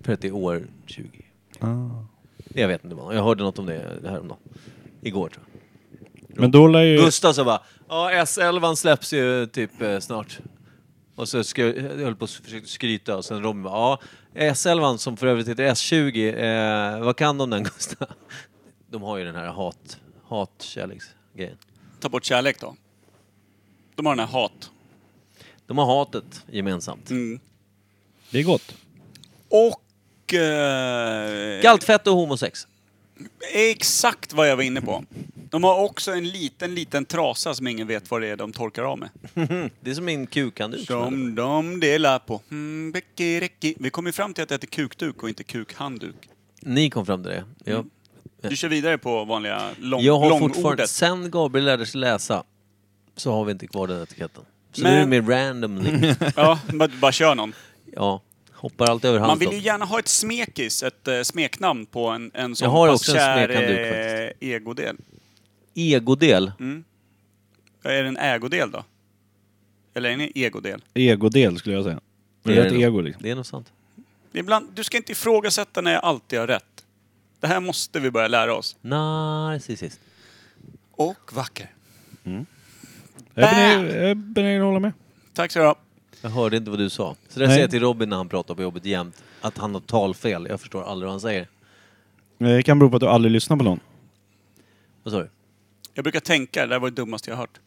För att det är år 20. Ah. Jag vet inte vad. Jag hörde något om det häromdagen. Igår tror jag. Men då lär ju... Gustav sa bara, ja S11 släpps ju typ eh, snart. Och så ska, jag höll på att försöka skryta och sen Robin bara, ja S11 som för övrigt heter S20, eh, vad kan de den Gustav? De har ju den här hat, hatkärleksgrejen. Ta bort kärlek då. De har den här hat. De har hatet gemensamt. Mm. Det är gott. Och... Eh, Galtfett och homosex. exakt vad jag var inne på. De har också en liten, liten trasa som ingen vet vad det är de torkar av med. Det är som min kukhandduk. Som de delar på. Mm, becki, recki. Vi kom ju fram till att det heter kukduk och inte kukhandduk. Ni kom fram till det. Jag, Du kör vidare på vanliga lång, jag har fortfarande, långordet. sen Gabriel lärde sig läsa, så har vi inte kvar den etiketten. Så Men- nu är det mer randomly. Ja, bara, bara kör någon. Ja, hoppar allt över Man halsen. vill ju gärna ha ett smekis, ett eh, smeknamn på en, en sån Jag har pass också en kär smekhandduk eh, faktiskt. egodel. Egodel. Mm. Ja, Är det en ägodel då? Eller är det en egodel? Egodel skulle jag säga. Det är ett nog- ego liksom. Det är nog sant. Ibland, du ska inte ifrågasätta när jag alltid har rätt. Det här måste vi börja lära oss. Narcissist. Och vacker. Jag är benägen- jag är benägen att hålla med. Tack så du ha. Jag hörde inte vad du sa. Så det Nej. säger jag till Robin när han pratar på jobbet jämt. Att han har talfel. Jag förstår aldrig vad han säger. Eh, Det kan bero på att du aldrig lyssnar på någon. Vad sa du? Jag brukar tänka, det där var det dummaste jag hört.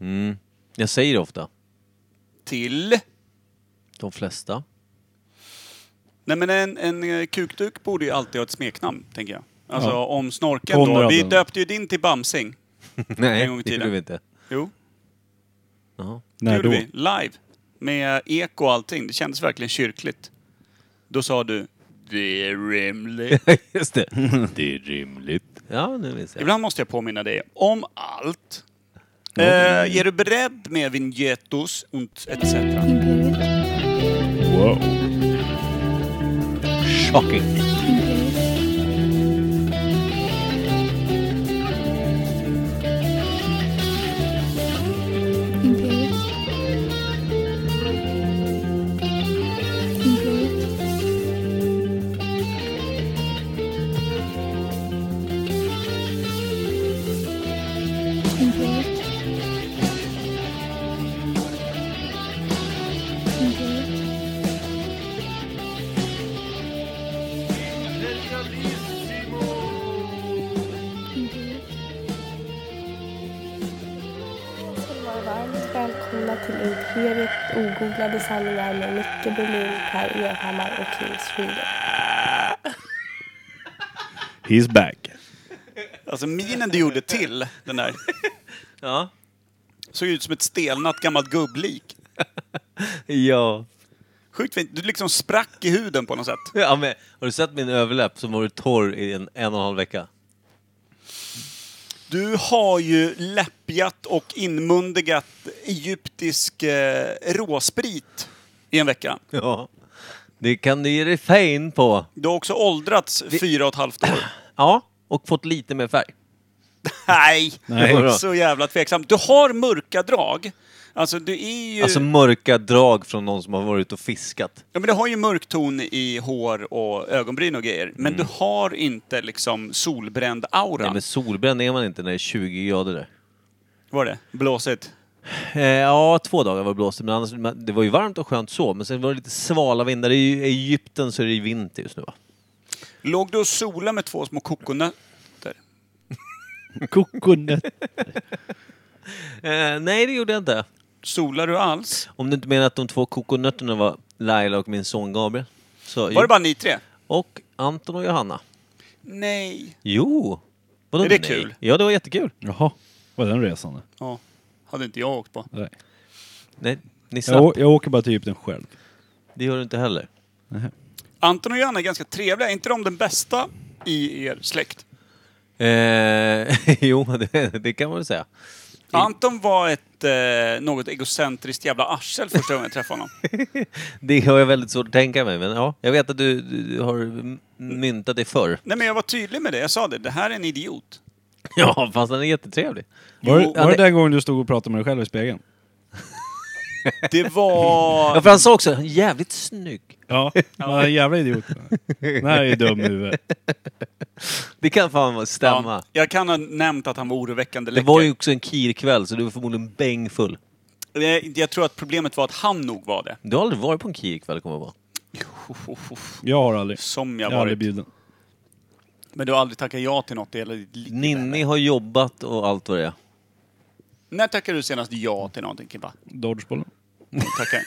Mm. Jag säger det ofta. Till... De flesta. Nej men en, en eh, kukduk borde ju alltid ha ett smeknamn, tänker jag. Alltså Ja. om snorken då. Konraden. Vi döpte ju din till Bamsing. Nej, gång i det tiden. gjorde vi inte. Jo, Jaha. det När gjorde då? vi. Live. Med eko och allting. Det kändes verkligen kyrkligt. Då sa du... Det är rimligt. Just det. Det är rimligt. Ja, nu minns jag. Mm. Ibland måste jag påminna dig om allt. Eh, är du beredd med vinjettos und etc? Imperial. Wow. Shocking. Imperial. Imperial. Imperial. Imperial. Imperial. ska ni vara varmt välkomna till Imperiet ogooglade sanningar med Micke Berlin, Per Evhammar och Kim Schreeder. He's back. Alltså minen du gjorde till den där Ja. såg ut som ett stelnat gammalt gubblik. Ja. Sjukt fint. Du liksom sprack i huden på något sätt. ja men, har du sett min överläpp som varit torr i en, en och en halv vecka? Du har ju läppjat och inmundigat egyptisk eh, råsprit i en vecka. Ja. Det kan du ge dig fan på. Du har också åldrats fyra och ett halvt år. Ja, och fått lite mer färg. Nej, Nej. det var så jävla tveksamt. Du har mörka drag. Alltså du är ju... Alltså mörka drag från någon som har varit ute och fiskat. Ja, men du har ju mörk ton i hår och ögonbryn och grejer. Men du har inte liksom solbränd aura. Mm. Nej men solbränd är man inte när det är 20 grader där. Var det? Blåsigt. Eh, ja, två dagar var det blåsigt, men annars, men det var ju varmt och skönt så. Men sen var det lite svala vindar. I Egypten så är det ju vinter just nu va? Låg du och sola med två små kokonötter? Kokonöt. Eh, nej, det gjorde jag inte. Solar du alls? Om du inte menar att de två kokonötterna var Laila och min son Gabriel. Så, Var det bara ni tre? Och Anton och Johanna. Nej. Jo! Vadå Är det nej? kul? Ja, det var jättekul. Jaha. Var den resan? Ja, hade inte jag åkt på. Nej. Nej, ni slapp. Jag, å- jag åker bara till Egypten själv. Det gör du inte heller. Anton och Johanna är ganska trevliga. Är inte de den bästa i er släkt? Eh, jo, det, det kan man väl säga. Anton var ett eh, något egocentriskt jävla arsel första gången jag träffade honom. Det har jag väldigt svårt att tänka mig, men ja. Jag vet att du, du har m- myntat det förr. Nej, men jag var tydlig med det. Jag sa det. Det här är en idiot. Ja, fast han är jättetrevlig. Var, Jo, var det- det den gången du stod och pratade med dig själv i spegeln? Det var... Ja, för han sa också "Han är jävligt snygg. Ja, man är en jävla idiot. Den här är ju dum i huvudet. Det kan fan stämma. Ja, jag kan ha nämnt att han var oroväckande Det läcker. var ju också en kirkväll så du var förmodligen bängfull. Eh, Jag tror att problemet var att han nog var det. Du har aldrig varit på en kirkväll kommer jag ihåg. Jag har aldrig. Som Jag jag har aldrig varit. bjuden. Men du har aldrig tackat ja till något i hela ditt liv? Ninni har jobbat och allt vad det är. När tackade du senast ja till någonting Kimpa? Dodgebollen. Tackar.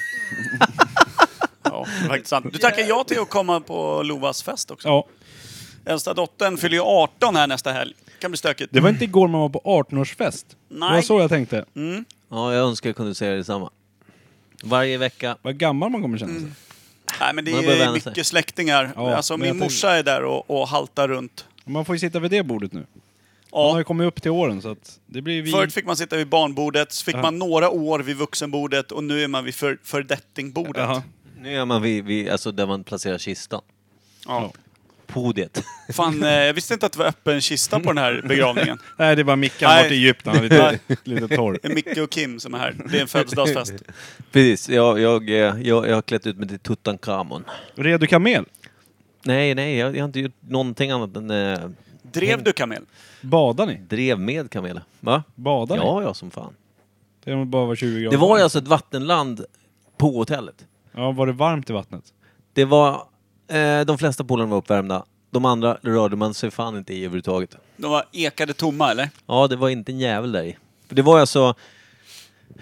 ja, det är faktiskt sant. Du tackar ja till att komma på Lovas fest också. Ja. Äldsta dottern fyller ju 18 här nästa helg. kan bli stökigt. Det var inte igår man var på 18-årsfest. Det var Nej. så jag tänkte. Ja, jag önskar jag kunde säga detsamma. Varje vecka. Vad gammal man kommer känna sig. Nej, men det Man börjar är vänja mycket sig. släktingar. Ja, alltså, men jag min morsa är där och, och haltar runt. Man får ju sitta vid det bordet nu. Man har Ja, ju kommit upp till åren så att det blir vi... förut fick man sitta vid barnbordet, så fick Ja. man några år vid vuxenbordet och nu är man vid för, fördettingbordet. Jaha. Nu är man vid, vid alltså där man placerar kistan. Ja. På det. Fan, eh, jag visste inte att det var öppen kista på den här begravningen. Nej, det var Micke. Han Nej. var till Egypten. Han är lite, lite torr. Det är Micke och Kim som är här. Det är en födelsedagsfest. Precis, jag, jag, eh, jag, jag har klätt ut mig till Tutankhamon. Redo kamel. Nej, nej, jag, jag har inte gjort någonting annat än eh, Drev du kamel? Badar ni? drev med Kamel. Va? Badar ni? Ja, ja som fan. Det var bara var 20 grader. Det var ju alltså ett vattenland på hotellet. Ja, var det varmt i vattnet? Det var... Eh, de flesta poolerna var uppvärmda. De andra rörde man sig fan inte i överhuvudtaget. De var ekade tomma, eller? Ja, det var inte en jävel där i. För det var ju alltså...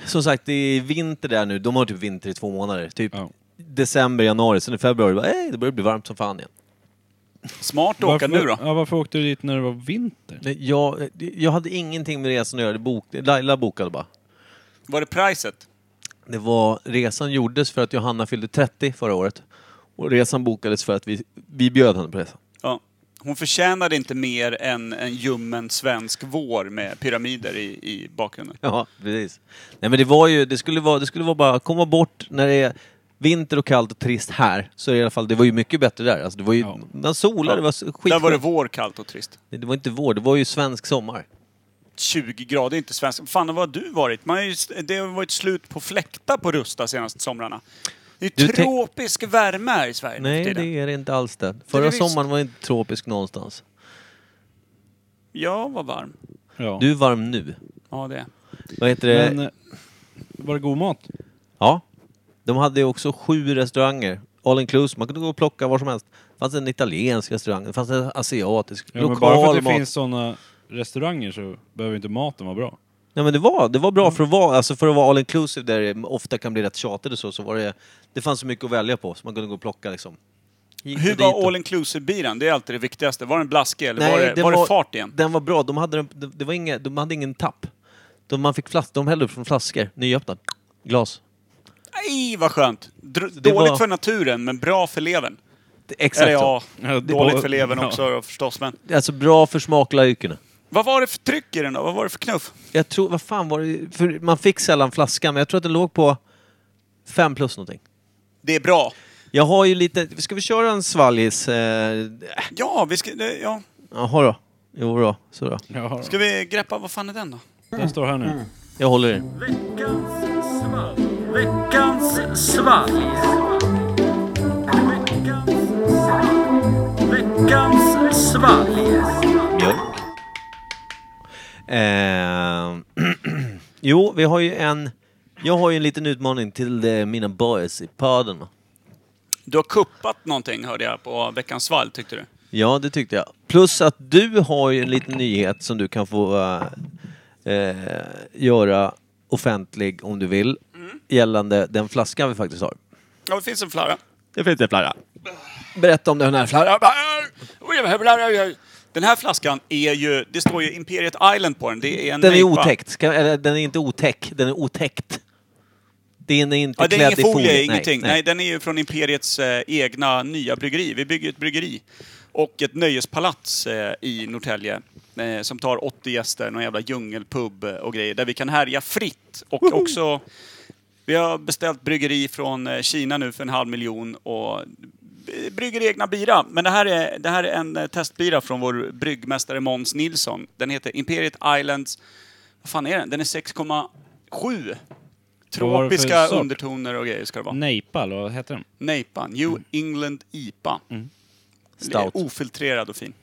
Som sagt, det är vinter där nu. De har typ vinter i två månader. Typ Ja. december, januari. Sen i februari bara, "Ey, det börjar bli varmt som fan igen. Smart att åka nu då. Ja, varför åkte du dit när det var vinter? Nej, Jag, jag hade ingenting med resan att göra. Det Bok, Laila bokade bara. Var det priset? Det var, resan gjordes för att Johanna fyllde 30 förra året. Och resan bokades för att vi, vi bjöd henne på resan. Ja. Hon förtjänade inte mer än en ljummen svensk vår med pyramider i, i bakgrunden. Ja, precis. Nej men det var ju, det skulle vara, det skulle vara bara komma bort när det är vinter och kallt och trist här. Så är det i alla fall, det var ju mycket bättre där. Alltså det var ju, Ja. man solade, det var så- skit. Där var det vår, kallt och trist. Nej, det var inte vår, det var ju svensk sommar. 20 grader, inte svensk. Fan, vad har du varit? Man har ju, det har varit slut på fläktar på Rusta senaste somrarna. Det är Du, tänk- tropisk värme här i Sverige nu för Nej, tiden. det är det inte alls det. Förra visst. sommaren var inte tropisk någonstans. Jag var varm. Ja. Du eh, är varm nu. Ja, det. Vad heter det? Men, eh, var det god mat? Ja. De hade ju också sju restauranger. All inclusive, man kunde gå och plocka var som helst. Det fanns en italiensk restaurang, det fanns en asiatisk, Ja, men lokal bara för att det mat. finns sådana restauranger så behöver inte maten vara bra. Nej men det var, det var Mm. bra för att vara, alltså för att vara all inclusive där det ofta kan bli rätt tjatigt och så, så var det, det fanns så mycket att välja på så man kunde gå och plocka liksom. Hit och Hur dit var och- all inclusive-biran? Det är alltid det viktigaste. Var den blaskig eller Nej, var, det, var, det fart igen? Den var bra, de hade, den- det, det var inga, de hade ingen tapp. De, man fick flas, de hällde upp från flaskor, nyöppnad. Glas. Nej, vad skönt! Dr- det dåligt var- för naturen, men bra för levern. Det- Eller Exakt ja, Ja, dåligt då- för levern ja. också då, förstås. Men så. Alltså bra för smaklökarna. vad var det för tryck i den då? Vad var det för knuff? Jag tror, vad fan var det, för man fick sällan flaskan men jag tror att den låg på fem plus någonting. Det är bra. Jag har ju lite, ska vi köra en svallis? Eh, Ja, vi ska, det- ja. jaha då. Jo då, så då. Ja, ska Mm. vi greppa, vad fan är den då? den står här nu. Jag håller i den. Veckans svalg. Veckans svalg. Mjölk. Eh, jo, vi har ju en... Jag har ju en liten utmaning till eh, mina boys i podden. Du har kuppat någonting hörde jag på Veckans Svall, tyckte du? Ja, det tyckte jag. Plus att du har ju en liten nyhet som du kan få eh, eh, göra offentlig om du vill. Mm. Gällande den flaskan vi faktiskt har. Ja, det finns en flarra. Det finns en flarra. Berätta om den här flarran. Den här flaskan är ju, det står ju Imperiet Island på den. Det är en Den är nejpa. otäckt. Ska, eller, den är inte otäck, den är otäckt. Den är inte Ja, det är klädd ingen folie, i folie. ingenting. Nej, den är ju från Imperiets eh, egna nya bryggeri. Vi bygger ett bryggeri och ett nöjespalats eh, i Norrtälje eh, som tar 80 gäster, någon jävla djungelpub eh, och grejer där vi kan härja fritt. Och också, vi har beställt bryggeri från eh, Kina nu för en halv miljon och b- brygger egna bira. Men det här är, det här är en eh, testbira från vår bryggmästare Måns Nilsson. Den heter Imperiet Islands, vad fan är den? Den är 6,7 Vad var det för Tropiska sort? undertoner och grejer ska det Mm. vara. Neipa, eller vad heter den? Nejpan. New England IPA. Mm. Stout. Ofiltrerad och fin.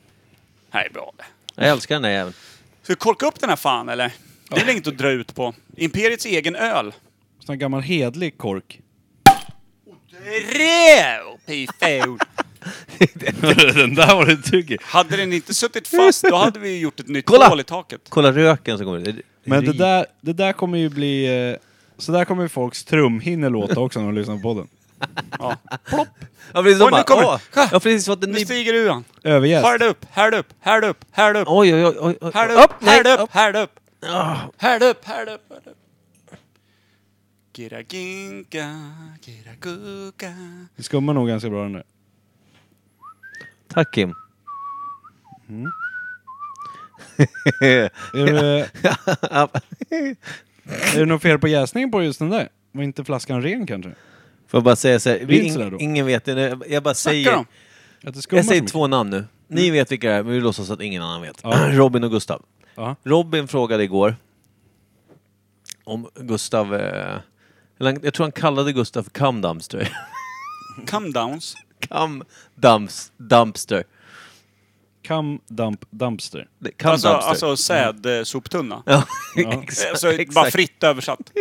Här är bra det. Jag älskar den där jäveln. Ska vi korka upp den här fan eller? Det är väl inget att dra ut på. Imperiets egen öl. Sån här gammal hedlig kork. Röv, pifol. den där var det tugg Hade den inte suttit fast, då hade vi gjort ett nytt Kolla! hål i taket. Kolla röken som kommer ut. Men det Ri- där, det där kommer ju bli... eh, Så där kommer ju folks trumhinnor låta också när de lyssnar på den. Ja. Ja, precis, de Oj, nu bara, kommer åh, det. jag har precis fått en Nu ny... stiger uran. Övergäst. Härd upp, härd upp, härd upp, härd upp. Oj, oj, oj, oj, oj. Härd upp, nej, härd upp, upp. härd upp. Ah, Härd upp, härd upp, härd upp. Gira ginka, gira guka. Det skummar nog ganska bra den där. Tack Kim. Är, du, eh, är det något fel på jäsningen på just den där? Var inte flaskan ren kanske? Får jag bara säga så här, Det är vi, inte sådär ing, då. ingen vet det. Jag bara Snackar säger... de? Att det skummar Jag säger så mycket? två namn nu. Ni vet vilka det är, men vi låtsas att ingen annan vet. Ja. Robin och Gustav. Ja. Robin frågade igår om Gustav... Eh, eller han- jag tror han kallade Gustav för cum dumpster. Come downs. cum dumps, dumpster. Come dump dumpster. Det- Cum Alltså, dumpster. alltså säd, eh, soptunna. Mm. Ja, Ja. exakt. Alltså, bara exakt. fritt översatt.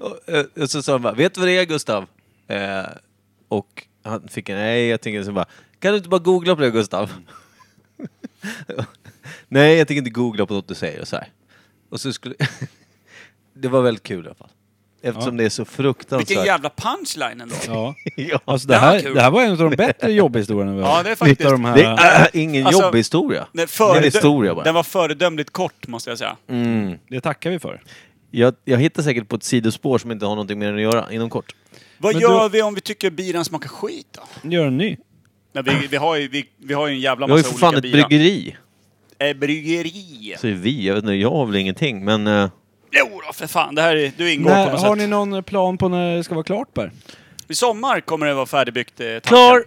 Och, eh, och så sa han bara, vet du vad det är Gustav? Eh, och han fick en, nej jag tänker så bara, kan du inte bara googla på det Gustav? nej jag tänker inte googla på något du säger och så här. Och så skulle, det var väldigt kul i alla fall. Eftersom det är så Vilken fruktansvärt. jävla punchline ändå. Ja. ja. Alltså det Det var här, kul. det här var en av de bättre jobbhistorierna vi har. Ja, det är faktiskt- Utav de här, Det är ingen Alltså, jobbhistoria. Den, Det är en föredö- historia bara. Mm. den var föredömligt kort, måste jag säga. det tackar vi för. Jag, jag hittar säkert på ett sidospår som inte har någonting med den att göra inom kort. Vad Men gör då- vi om vi tycker biran smakar skit då? Gör en ny. Nej, vi, vi, har ju, vi, vi har ju en jävla Vi har ju massa för fan olika ett birar. bryggeri. Eh, bryggeri. Så är vi, jag vet inte, jag har väl ingenting men... eh, Jo då, för fan. Det här är, du ingår När, på något har sätt. ni någon plan på när det ska vara klart Per? I sommar kommer det vara färdigbyggt. Eh, tanken. Klar!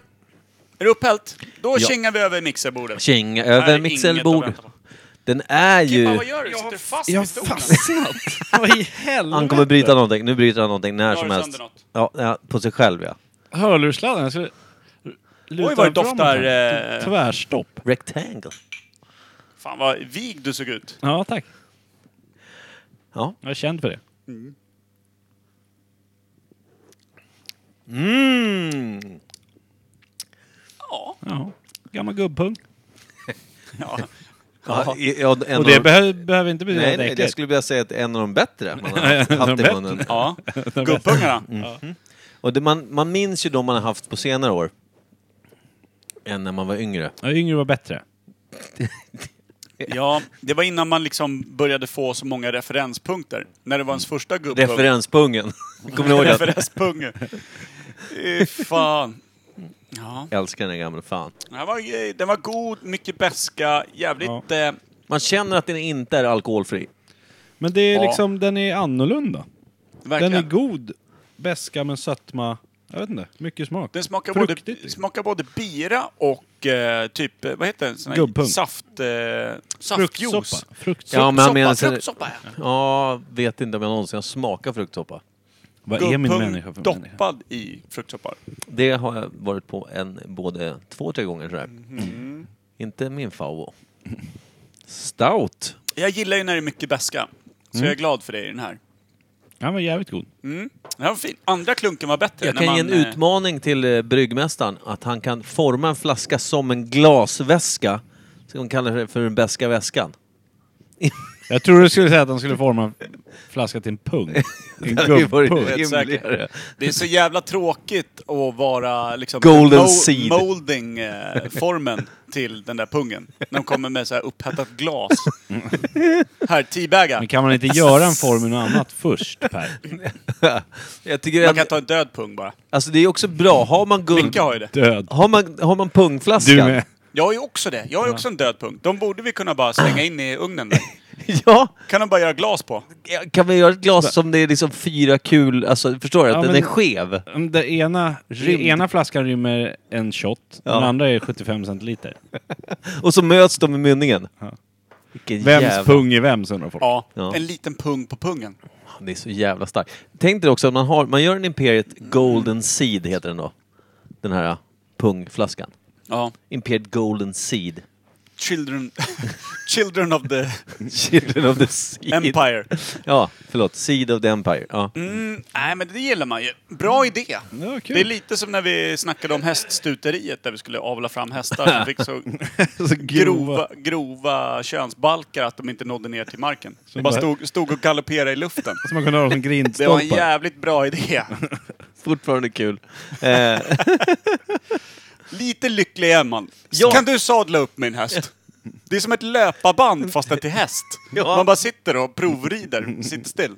Är du upphällt? Då Ja. kängar vi över mixerbordet. Känga Här är över inget att mixelbord. vänta på. Den är Kimpa, ju... vad gör du? Sitter du fast i stolen? Vad i helvete? Han kommer bryta någonting. Nu bryter han någonting när har som du helst. sönder något? Ja, ja, på sig själv ja. Hörlursladden. Jag skulle... luta Oj, vad det den framåt doftar... här. Eh, Tvärstopp. Rectangle. fan, vad vig du såg ut. Ja, tack. Ja. Jag är känd för det. Mm. Ja. Ja. Gammal gubbpung. ja. Ja, i- ja, en Och av det de- behöver, behöver inte betyda Nej, att det nej, är jag äckligt. skulle vilja säga att en av de bättre man har haft i bättre. munnen. ja. Gubpungarna. Mm. Och det, man, man minns ju de man har haft på senare år. Än när man var yngre. Ja, yngre var bättre. Ja, det var innan man liksom började få så många referenspunkter. När det var ens första gubbpung. Referenspungen. Kommer ni ihåg den? Referenspung. Eh, fan. Ja. Jag älskar den här gamla fan. Den var, eh, den var god, mycket beska, jävligt... Eh, Man känner att den inte är alkoholfri. Men det är Ja. liksom, den är annorlunda. verkligen. Den är god. Beska men sötma. Jag vet inte. Mycket smak. Den smakar Fruktigt. liksom. både, smakar både bira och eh, typ, eh, vad heter den? Sån här Gubbpung. Saft... Eh, saftjuice. Fruktsoppa. Fruktsoppa. Ja, men han menar... Soppa, fruktsoppa, ja. Ja, vet inte om jag någonsin har smakat fruktsoppa. Vad är min människa Gubbpung för människa? doppad i fruktsoppa. Det har jag varit på en, både två, tre gånger sådär. Mm-hmm. Inte min favo. Stout. Jag gillar ju när det är mycket beska. Så Mm. jag är glad för det i den här. Han var jävligt god. Den här var fin. Andra klunken var bättre. Jag när kan man, ge en eh, utmaning till eh, bryggmästaren att han kan forma en flaska som en glasväska. Så de kallar det för den bästa väskan. Jag tror du skulle säga att han skulle forma en flaska till en pung. En Det hade ju varit gubbpung. rimligare. Det är så jävla tråkigt att vara liksom Golden seed. molding-formen till den där pungen. När de kommer med så här upphettat glas. Här, teabaga. Men kan man inte göra en form ur något annat först Per? Jag tycker Man att, kan ta en död pung bara. alltså det är också bra. Har man guld... Micke har ju det. Död. Har man, har man Du pungflaskan? med. Jag har ju också det. Jag har ju också en död pung. De borde vi kunna bara slänga in i ugnen där. Ja. Kan de bara göra glas på. Kan vi göra ett glas som det är liksom fyra kul... Alltså, förstår du? Att Ja, den men- är skev. Om Den Mm, ena, den ena flaskan rymmer en shot, Ja. den andra är 75 centiliter. Och så möts de i mynningen. Vilken Vems jävla... pung är vems undrar folk. Ja, Ja. en liten pung på pungen. Det är så jävla starkt. Tänk dig också att man, har, man gör en Imperiet Golden Seed, heter den då. Den här pungflaskan. Ja. Imperiet Golden Seed. Children, children of the Children of the Seed. Empire. Ja, förlåt. Seed of the Empire. Ja. Mm, nej, men det gillar man ju. Bra Mm. idé. Ja, kul. Det är lite som när vi snackade om häststuteriet där vi skulle avla fram hästar som fick så Så grova, grova könsbalkar att de inte nådde ner till marken. De bara bara- stod, stod och galopperade i luften. Som man kunde ha som Det var en grindstolpar. jävligt bra idé. Fortfarande kul. Eh, Lite lycklig är man. Ja. Kan du sadla upp min häst? Det är som ett löparband fast det är till häst. Ja. Man bara sitter och provrider, sitter still.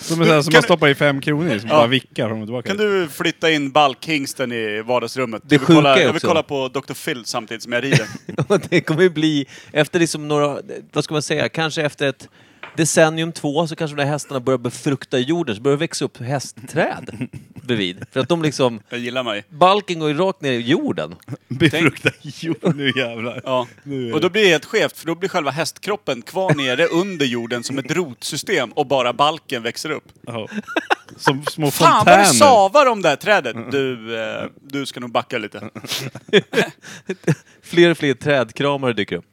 Som, är så här, som Kan man du- stoppar i fem kronor i, som bara vickar fram och tillbaka. Kan du flytta in balkhingsten i vardagsrummet? Det jag, vill kolla, sjuka är jag vill också- kolla på Dr. Phil samtidigt som jag rider. och det kommer ju bli, efter liksom några, vad ska man säga, kanske efter ett decennium två så kanske de där hästarna börjar befrukta jorden, så börjar det växa upp hästträd bredvid. För att de liksom, Jag gillar mig. balken går ju rakt ner i jorden. Befrukta jord, nu jävlar. Ja. Nu är Och då blir det helt skevt, för då blir själva hästkroppen kvar nere under jorden som ett rotsystem och bara balken växer upp. Ja. Som små Fan vad fontäner. det savar om det här trädet! Du, eh, du ska nog backa lite. Fler och fler trädkramare dyker upp.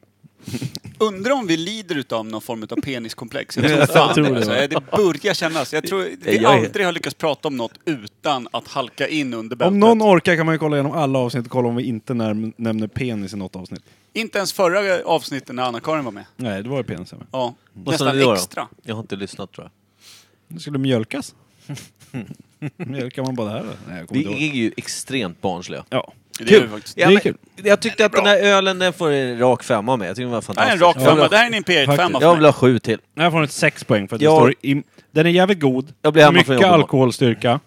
Undrar om vi lider utav någon form utav peniskomplex. Jag Ja, tror jag fan tror det. det, Alltså. va? Det börjar kännas. Jag tror vi Jag är- aldrig har lyckats prata om något utan att halka in under bältet. Om någon orkar kan man ju kolla igenom alla avsnitt och kolla om vi inte när, nämner penis i något avsnitt. Inte ens förra avsnittet när Anna-Karin var med. Nej, det var ju penis jag med. Ja, Vad sa ni nästan då då? extra. Jag har inte lyssnat tror jag. Det skulle mjölkas. Mjölkar man bara det här eller? Nej, jag kommer Vi inte ihåg. är ju extremt barnsliga. Ja. Det Kul. är ju faktiskt. Ja. Det är kul. Jag tyckte att bra. den här ölen den får en rak femma med. Jag tycker den var Det här är en fantastisk. rak Jag vill femma. ha- Det här är en Imperiet-femma Jag för vill mig. ha sju till. Den här får den ett sex poäng för att Ja. det står i, Den är jävligt god. Jag blir hemma från mycket jobbet. alkoholstyrka.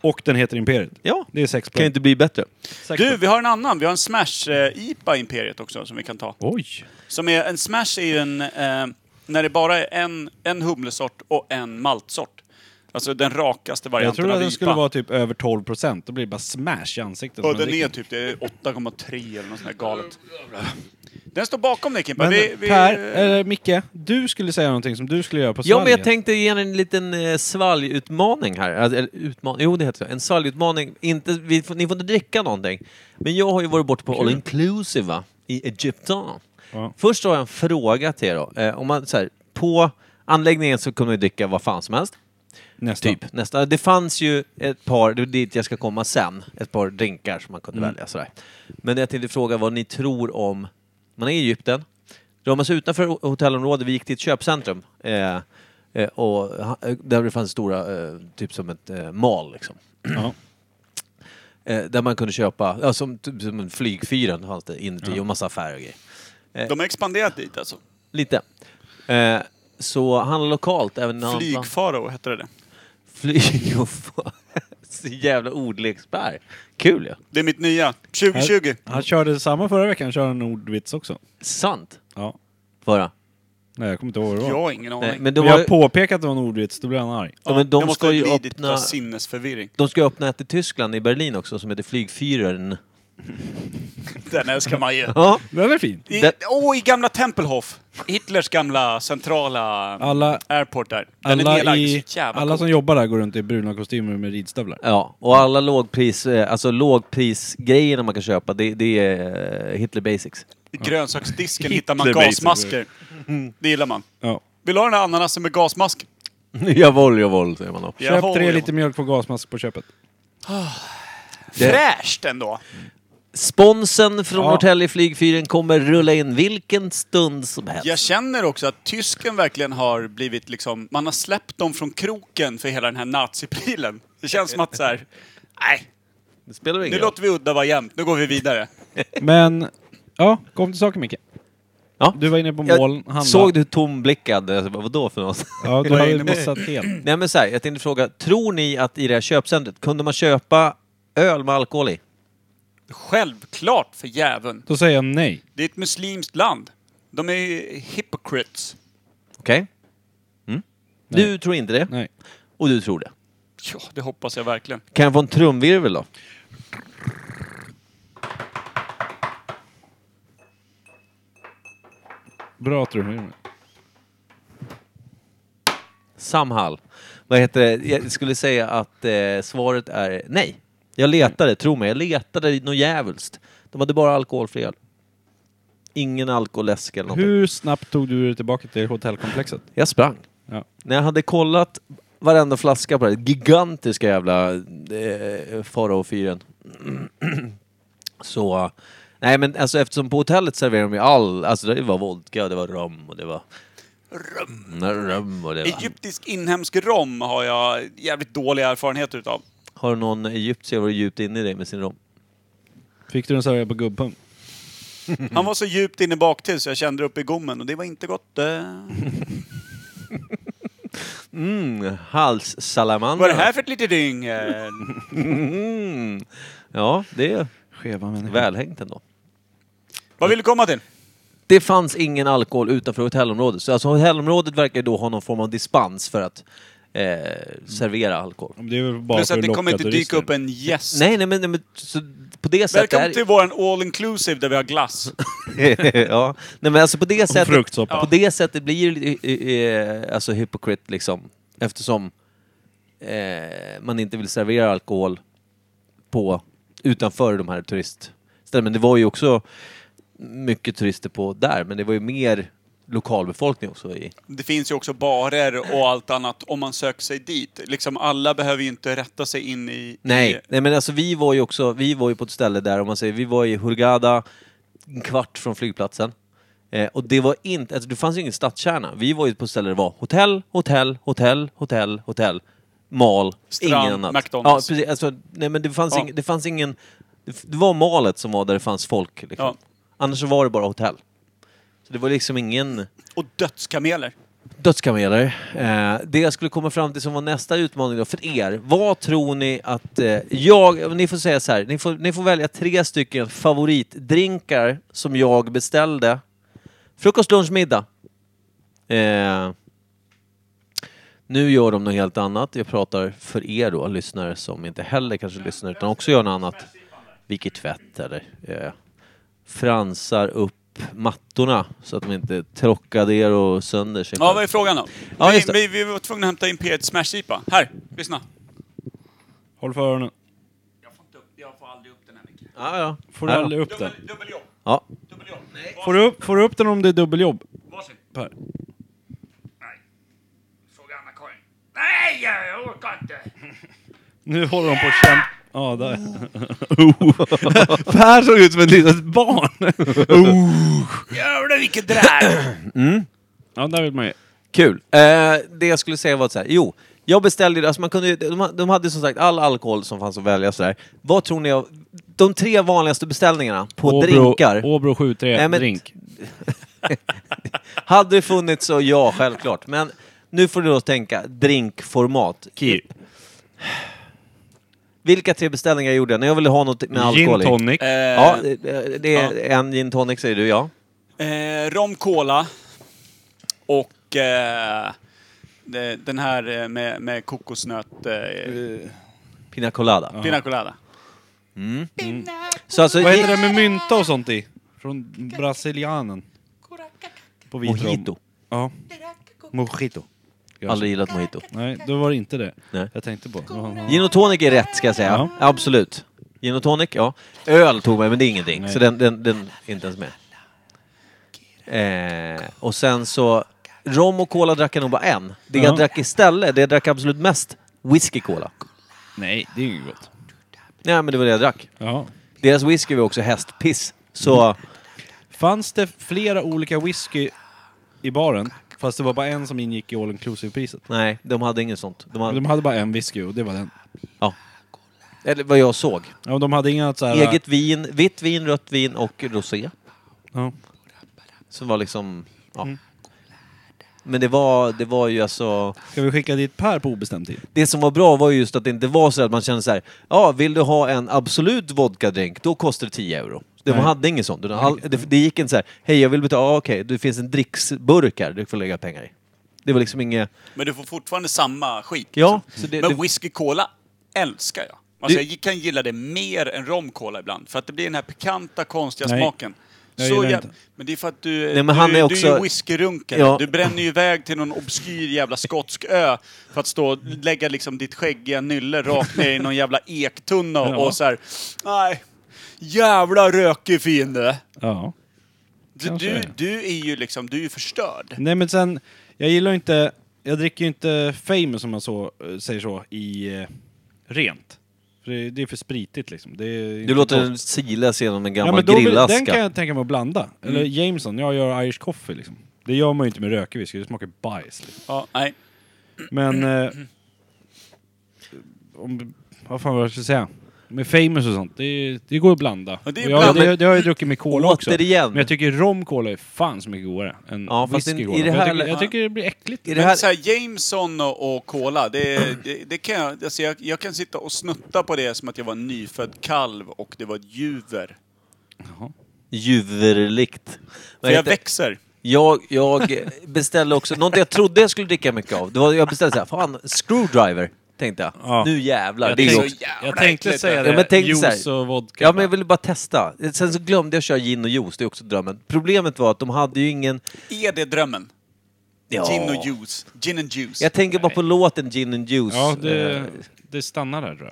Och den heter Imperiet. Mm. Ja, Det är sex kan ju poäng. inte bli bättre. Sex Du, poäng. vi har en annan. Vi har en Smash-IPA Imperiet också som vi kan ta. Oj! Som är, en Smash är ju en... Eh, när det bara är en, en humlesort och en maltsort. Alltså den rakaste Jag varianten trodde av att den IPA. skulle vara typ över 12 procent. Då blir det bara smash i ansiktet. Och som man den är dricker. typ det är 8,3 eller något sånt där galet. Den står bakom dig Kimpa. Men Vi, vi, Per, eller Micke, du skulle säga någonting som du skulle göra på Ja, men jag svalget. tänkte ge er en liten eh, svalgutmaning här. Alltså, Eller utman jo, det heter så. En svalgutmaning. Inte, vi får, ni får inte dricka någonting. Men jag har ju varit borta på All Inclusive va? i Egypten. Ja. Först har jag en fråga till er då. Eh, om man, så här, på anläggningen så kunde man ju dricka vad fan som helst. Nästa. Typ. Nästa. Det fanns ju ett par, det är dit jag ska komma sen, ett par drinkar som man kunde välja. Sådär. Men jag tänkte fråga vad ni tror om, man är i Egypten, drar man sig utanför hotellområdet, vi gick till ett köpcentrum, eh, eh, och, ha- där det fanns stora, eh, typ som ett eh, mall liksom. Ja. Eh, där man kunde köpa, ja, som, typ, som en flygfyren fanns det inuti och massa affärer och grejer. De har expanderat dit alltså. Lite. Eh, så handla lokalt även när han... Flygfarao hette det. Flyg och fa- Så jävla ordleksbär. Kul ju. Det är mitt nya. 2020. Han körde samma förra veckan, han körde en ordvits också. Sant. Ja. Bara. Nej, jag kommer inte ihåg vad det var. Jag har ingen Nej, aning. men Men de, jag har, har påpekat att det var en ordvits, då blir han arg. ja, men jag de måste ha ska ju lidit öppna... av sinnesförvirring. De ska öppna ett i Tyskland, i Berlin också, som heter Flygfyraren. Den älskar man ju. Ja. Den är fin. I, Den- åh, i gamla Tempelhof. Hitlers gamla centrala Alla, airport där. Den är alla, nedlagd. i, Så jävla alla cool. som jobbar där går runt i bruna kostymer med ridstövlar. ja. Och alla lågpris, eh, alltså lågprisgrejerna man kan köpa, det, det är eh, Hitler Basics. I grönsaksdisken hittar man Hitler, gasmasker. Mm. Det gillar man. Ja. Vill du ha den här ananasen med gasmask? Javol, javol, säger man då. Jag Köp har- tre jag- liter mjölk på gasmask på köpet. Fräscht ändå! Sponsen från Ja. Norrtälje Flygfyren kommer rulla in vilken stund som helst. Jag känner också att tysken verkligen har blivit liksom... Man har släppt dem från kroken för hela den här naziprilen. Det känns som att så här... Nej, Det spelar väl nu ingen roll. låter vi udda vara jämnt. Nu går vi vidare. Men, ja, kom till saken Micke. Ja. Du var inne på Jag målen, handla. Såg du hur tomblickad, alltså, vad då för något? Ja, du Jag var hade inne på- missat helt. Nej men så här, jag tänkte fråga, tror ni att i det här köpcentret kunde man köpa öl med alkohol i? Självklart för jäveln. Då säger jag nej. Det är ett muslimskt land. De är ju hypocrites. Okej? Mm. Du tror inte det? Nej. Och du tror det. Ja, det hoppas jag verkligen. Kan jag få en trumvirvel då? Bra trumvirvel. Samhall. Vad heter det? Jag skulle säga att eh, svaret är nej. Jag letade, tro mig, jag letade något djävulskt. De hade bara alkoholfri öl. Ingen alkoläsk eller någonting. Hur snabbt tog du dig tillbaka till hotellkomplexet? Jag sprang. Ja. När jag hade kollat varenda flaska på det här gigantiska jävla eh, Farao-fyren. Så... Nej men alltså eftersom på hotellet serverar de ju all... Alltså det var vodka, det var rom och det var... Rum? Rum och det var... Egyptisk inhemsk rom har jag jävligt dålig erfarenhet utav. Har någon egyptier varit djupt inne i dig med sin rom? Fick du den serverad på gubbpung? Mhm. Han var så djupt inne baktill så jag kände upp i gommen och det var inte gott. eh. Mm, halssalamander. Vad är det här för ett litet dyng? eh? Mm. Ja, det är Skeva välhängt ändå. Vad vill du komma till? Det fanns ingen alkohol utanför hotellområdet. Så alltså hotellområdet verkar ju då ha någon form av dispens för att eh, servera alkohol. Det är väl bara Plus för att att det kommer locka inte turister. dyka upp en gäst. Nej, nej men, nej, men så på det sättet... Välkommen till våran all inclusive där vi har glass. ja. Nej men alltså på det sättet, fruktsoppa. på det sättet blir det lite, eh, eh, alltså hypocrite liksom. Eftersom eh, man inte vill servera alkohol på, utanför de här turistställena. Men det var ju också mycket turister på där, men det var ju mer lokalbefolkning också i... Det finns ju också barer och allt annat om man söker sig dit. Liksom alla behöver ju inte rätta sig in i... Nej, I, nej men alltså vi var ju också, vi var ju på ett ställe där, om man säger, vi var i Hurghada en kvart från flygplatsen. Eh, och det var inte, alltså det fanns ju ingen stadskärna. Vi var ju på ett ställe där det var hotell, hotell, hotell, hotell, hotell, mal, Strand, ingen annat. McDonald's. Ja, precis. Alltså, nej men det fanns, Ja. ing, det fanns ingen, det f- det var malet som var där det fanns folk liksom. Ja. Annars så var det bara hotell. Så det var liksom ingen och dödskameler. dödskameler. Eh, det jag skulle komma fram till som var nästa utmaning då för er. Vad tror ni att eh, jag... Ni får säga så här. Ni får, ni får välja tre stycken favoritdrinkar som jag beställde. Frukost, lunch, middag. Eh, nu gör de något helt annat. Jag pratar för er då, lyssnare som inte heller kanske lyssnar utan också gör något annat. Vilket tvätt eller... Eh, fransar upp mattorna så att de inte trockar och sönder sig Ja, själv. vad är frågan då? Ja, vi, just det. vi, vi var tvungna att hämta Imperiet Smash-IPA. Här, lyssna. Håll för öronen. Jag får, inte upp, jag får aldrig upp den här micken. Ja, ja. Får du Ja, ja. aldrig upp den? Dubbeljobb, Ja. dubbeljobb. Får du upp, får du upp den om det är dubbeljobb? Varsin. Per. Nej. Fråga Anna-Karin. Nej, jag orkar inte. Nu håller de på att kämpa. Ja, där. per såg ut som ett litet barn. Jävlar vilket drär! ja, där vill man ju. Kul. Eh, det jag skulle säga var så här. Jo, jag beställde ju- alltså man kunde, ju- de, de hade som sagt all alkohol som fanns att välja sådär. Vad tror ni av de tre vanligaste beställningarna på drinkar? Åbro 7-3, Nej, men- drink. Hade det funnits så ja, självklart. Men nu får du då tänka drinkformat. Kir. Vilka tre beställningar jag gjorde när jag ville ha något med Gin alkohol i? tonic. Eh, Ja, det, det är en gin tonic säger du ja. Eh, rom cola och eh, de- den här eh, med, med kokosnöt... Eh, Pina colada. pina colada. Så alltså, Vad heter det med mynta och sånt i? Från brasilianen. På vit rom. Mojito. Ja. Mojito. Aldrig gillat mojito. Nej, då var det inte det. Nej. Jag tänkte på. Gin och tonic är rätt ska jag säga. Ja. Absolut. Gin och tonic, ja. Öl tog mig, men det är ingenting. Nej. Så den, den, den är inte ens med. Eh, och sen så, rom och cola drack jag nog bara en. Det jag Ja. drack istället, det jag drack absolut mest, whisky cola. Nej, det är inget gott. Nej men det var det jag drack. Ja. Deras whisky var också hästpiss. Mm. Så, Fanns det flera olika whisky i baren? Fast det var bara en som ingick i all inclusive-priset. nej, de hade inget sånt. De hade, De hade bara en whisky och det var den. ja. Eller vad jag såg. Ja, de hade inga så här... Eget vin, vitt vin, rött vin och rosé. Ja. Som var liksom, ja. Mm. Men det var, det var ju alltså... Ska vi skicka dit Per på obestämd tid? Det som var bra var ju just att det inte var så att man kände så här, ja, vill du ha en absolut vodkadrink, då kostar det 10 euro. Det, man Nej. hade inget sånt. utan All, det, det gick inte så här, hej jag vill betala, ah, okej, det finns en dricksburk här, du får lägga pengar i. Det var liksom inget... Men du får fortfarande samma skit. Ja, liksom. så det- Men det- whisky cola älskar jag. Alltså Det- jag kan gilla det mer än rom cola ibland. För att det blir den här pikanta, konstiga Nej. smaken. Jag så gillar jäv... inte. Men det är för att du, Nej, men han du, är du är också- ju whiskyrunkare. Ja. Du bränner ju iväg till någon obskyr jävla skotsk ö för att stå och lägga liksom ditt skäggiga nylle rakt ner i någon jävla ektunna och, Ja. och så här. Nej, jävla rökig fiende. Ja. Du, Kanske du, det. du är ju liksom, du är ju förstörd. Nej men sen, jag gillar ju inte, jag dricker ju inte famous om man så, eh, säger så, i eh, rent. För det, det är för spritigt liksom. Det är Du inte låter gott. den silas genom en ja, gammal men då vill, Den grillaska. Mm. kan jag tänka mig att blanda. Eller Jameson, jag gör Irish coffee liksom. Det gör man ju inte med rökig whisky, det smakar bajs. Liksom. Ja, nej. Men... Eh, om, vad fan var det jag skulle säga? Med famous och sånt, det, det går att blanda. Ja, det är Och jag, bland- det, det har jag ju druckit med cola också. Återigen. Men jag tycker rom cola är fan så mycket godare än Ja, fast whisky i- i cola. det För här- jag, tycker, jag tycker det blir äckligt. I det Men här... så här, Jameson och, och Cola, det, det, det kan jag, alltså jag, jag kan sitta och snutta på det som att jag var en nyfödd kalv och det var ett juver. Juverligt. För jag växer. Jag, jag beställde också, något jag trodde jag skulle dricka mycket av, det var, jag beställde såhär, fan, screwdriver, tänkte jag. Ja. Nu jävlar. Jag det är ju tänkte- också- jävla jag tänkte äckligt, säga ja. det. Ja, men tänk så här. Juice och vodka. Ja, men jag ville bara testa. Sen så glömde jag köra gin och juice, det är också drömmen. Problemet var att de hade ju ingen... Är det drömmen? Ja. Gin och juice. Gin and juice. Jag tänker bara på låten Gin and juice. ja, Eh, det, det stannar där tror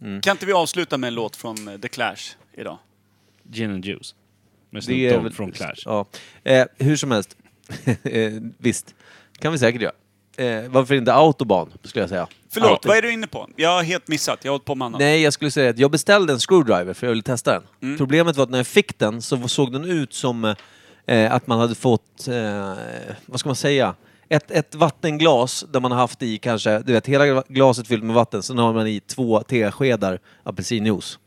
jag. Kan inte vi avsluta med en låt från eh, The Clash idag? Gin and juice. Med det Snoop är Dogg väl- från Clash. Ja. Eh, hur som helst. eh, visst, kan vi säkert göra. Eh, varför inte Autobahn, skulle jag säga. Förlåt, Auto- vad är du inne på? Jag har helt missat. Jag har hållit på med annat. Nej, jag skulle säga att jag beställde en screwdriver för jag ville testa den. Mm. Problemet var att när jag fick den så såg den ut som eh, att man hade fått, eh, vad ska man säga, ett, ett vattenglas där man har haft i kanske, du vet, hela glaset fyllt med vatten, sen har man i två teskedar apelsinjuice.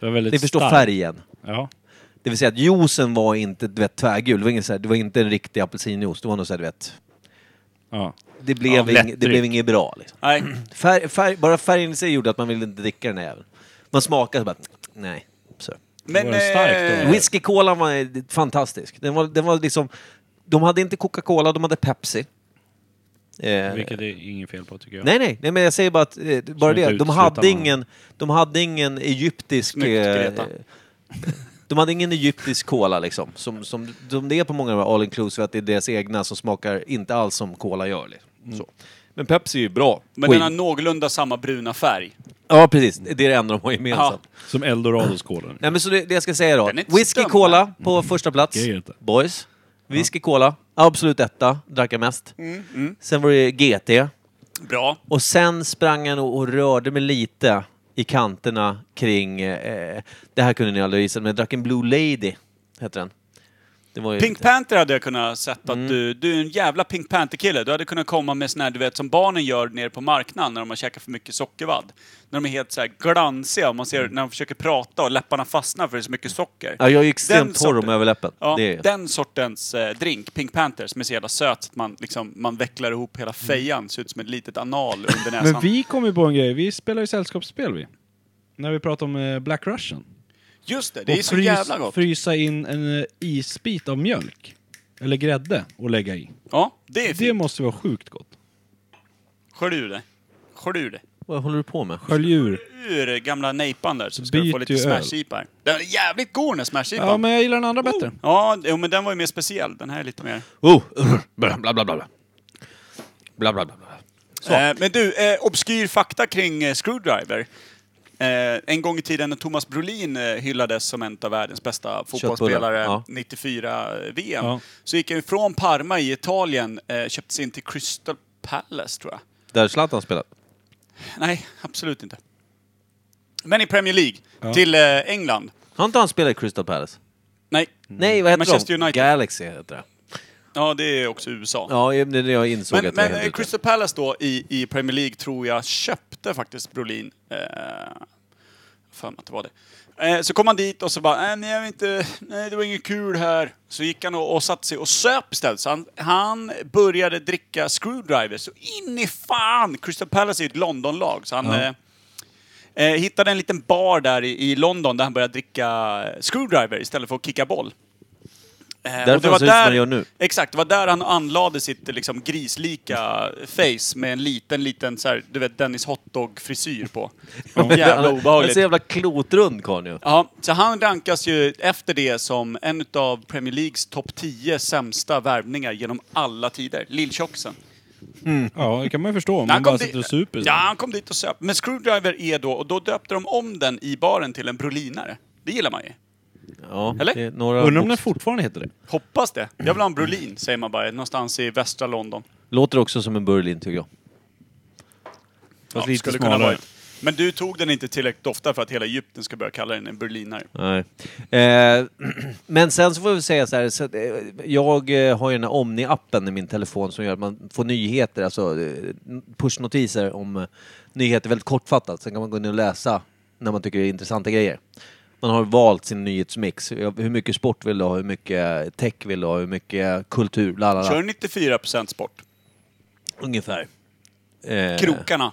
Det var väldigt Ni förstår starkt. färgen. Ja. Det vill säga att juicen var inte, du vet, tvärgul. Det var, ingen, så här, det var inte en riktig apelsinjuice. Det var nog såhär, du vet, ja. det blev, Ja, ing, lättdryck. det blev inget bra. Liksom. Nej. Färg, färg, bara färgen i sig gjorde att man ville inte dricka den här jäveln. Man smakade så bara, nej. Så. Men... Var den stark då? eh, Whisky Cola var fantastisk. Den var, den var liksom, de hade inte Coca-Cola, de hade Pepsi. Eh, Vilket det är inget fel på tycker jag. nej, nej, nej, men jag säger bara att, eh, bara inte det, de utesluta hade, någon. ingen, de hade ingen egyptisk... Snyggt, Greta. eh, de hade ingen egyptisk cola liksom, som, som, som det är på många av de här all inclusive, att det är deras egna som smakar inte alls som cola gör. Liksom. Mm. Så. Men Pepsi är ju bra. Men Oj. den har någorlunda samma bruna färg. Ja, precis. Det är det enda de har gemensamt. Ja. Som Eldorados cola. Nej, men så det, det jag ska säga då. Den är inte Whisky stum, Cola på första plats. Jag gillar inte. Boys. Whisky Cola. Absolut etta. Drack jag mest. Mm, Sen var det GT. Bra. Och sen sprang jag nog och rörde mig lite i kanterna kring... Eh, det här kunde ni aldrig gissa, men jag drack en Blue Lady. Hette den. Det var ju Pink Panther hade jag kunnat sett Mm. att du, du är en jävla Pink Panther-kille. Du hade kunnat komma med sån här, du vet, som barnen gör nere på marknaden när de har käkat för mycket sockervadd. När de är helt så här glansiga och man ser när de försöker prata och läpparna fastnar för det är så mycket socker. Mm. Ja, jag är ju Den extremt torr om sorten- överläppen. Ja, det är... den sortens eh, drink, Pink Panther, som är så jävla söt att man, liksom, man vecklar ihop Mm. hela fejan, ser ut som ett litet anal under näsan. Men vi kom ju på en grej, vi spelar ju sällskapsspel vi. När vi pratade om eh, Black Russian. Just det, det är Och så frys- jävla gott. frysa in en eh, isbit av mjölk. Eller grädde och lägga i. Ja, det är Det fint. måste vara sjukt gott. Skölj ur det. Skölj ur det. Vad håller du på med? Skölj ur. Ur gamla nejpan där så ska du Byt få lite ju öl. smashjeepar. Den är jävligt god den här smashjeepan. Ja, men jag gillar den andra bättre. Ja, jo, men den var ju mer speciell. Den här är lite mer... Oh! Bla, bla, bla, bla. Bla, bla, bla. bla. Eh, men du, eh, obskyr fakta kring eh, Screwdriver. Eh, en gång i tiden när Thomas Brolin eh, hyllades som en av världens bästa fotbollsspelare, ja. 94-VM, Ja. så gick han ju från Parma i Italien, eh, köptes in till Crystal Palace, tror jag. Där Zlatan spelat. Nej, absolut inte. Men i Premier League, Ja. till eh, England. Har inte han spelat i Crystal Palace? Nej, Nej, vad heter Manchester de? United. Galaxy heter det. ja det är också USA. Ja, det är det jag insåg Men, att jag men var eh, helt ute. Crystal Palace då i, i Premier League tror jag köpte faktiskt Brolin. Eh, för mig att det var det. Eh, så kom han dit och så bara, "Äh, nej, men jag vill inte, nej det var inget kul här. Så gick han och, och satte sig och söp istället. Så han, han började dricka screwdrivers så in i fan! Crystal Palace är ju ett Londonlag så han eh, eh, hittade en liten bar där i, i London där han började dricka screwdriver istället för att kicka boll. Därför Därför han ser ut som han gör nu. Exakt, det var där han anlade sitt liksom, grislika face med en liten, liten så här, du vet Dennis hotdog-frisyr på. Jävla Han är obehagligt. så jävla klotrund karln ju. Ja, så han rankas ju efter det som en av Premier Leagues topp 10 sämsta värvningar genom alla tider. Lilltjocksen. Ja, det kan man ju förstå om Men man bara dit- sitter och super. Ja, han kom dit och söp. Men Screwdriver är då, och då döpte de om den i baren till en brolinare. Det gillar man ju. Ja, Eller? det är några Undrar om den box- fortfarande heter det? Hoppas det. Jag vill ha en brolin, säger man bara, någonstans i västra London. Låter också som en Berlin tycker jag. Fast Ja, lite skulle smalare. kunna vara. Men du tog den inte tillräckligt ofta för att hela Egypten ska börja kalla den en berlinare. Nej. Eh, men sen så får vi säga så här, så att, eh, jag eh, har ju den här Omni-appen i min telefon som gör att man får nyheter, alltså eh, pushnotiser om eh, nyheter väldigt kortfattat. Sen kan man gå in och läsa när man tycker det är intressanta grejer. Man har valt sin nyhetsmix. Jag- Hur mycket sport vill du ha? Hur mycket tech vill du ha? Hur mycket kultur? Bla, bla, Kör bla. 94% sport. Ungefär. Eh, Krokarna.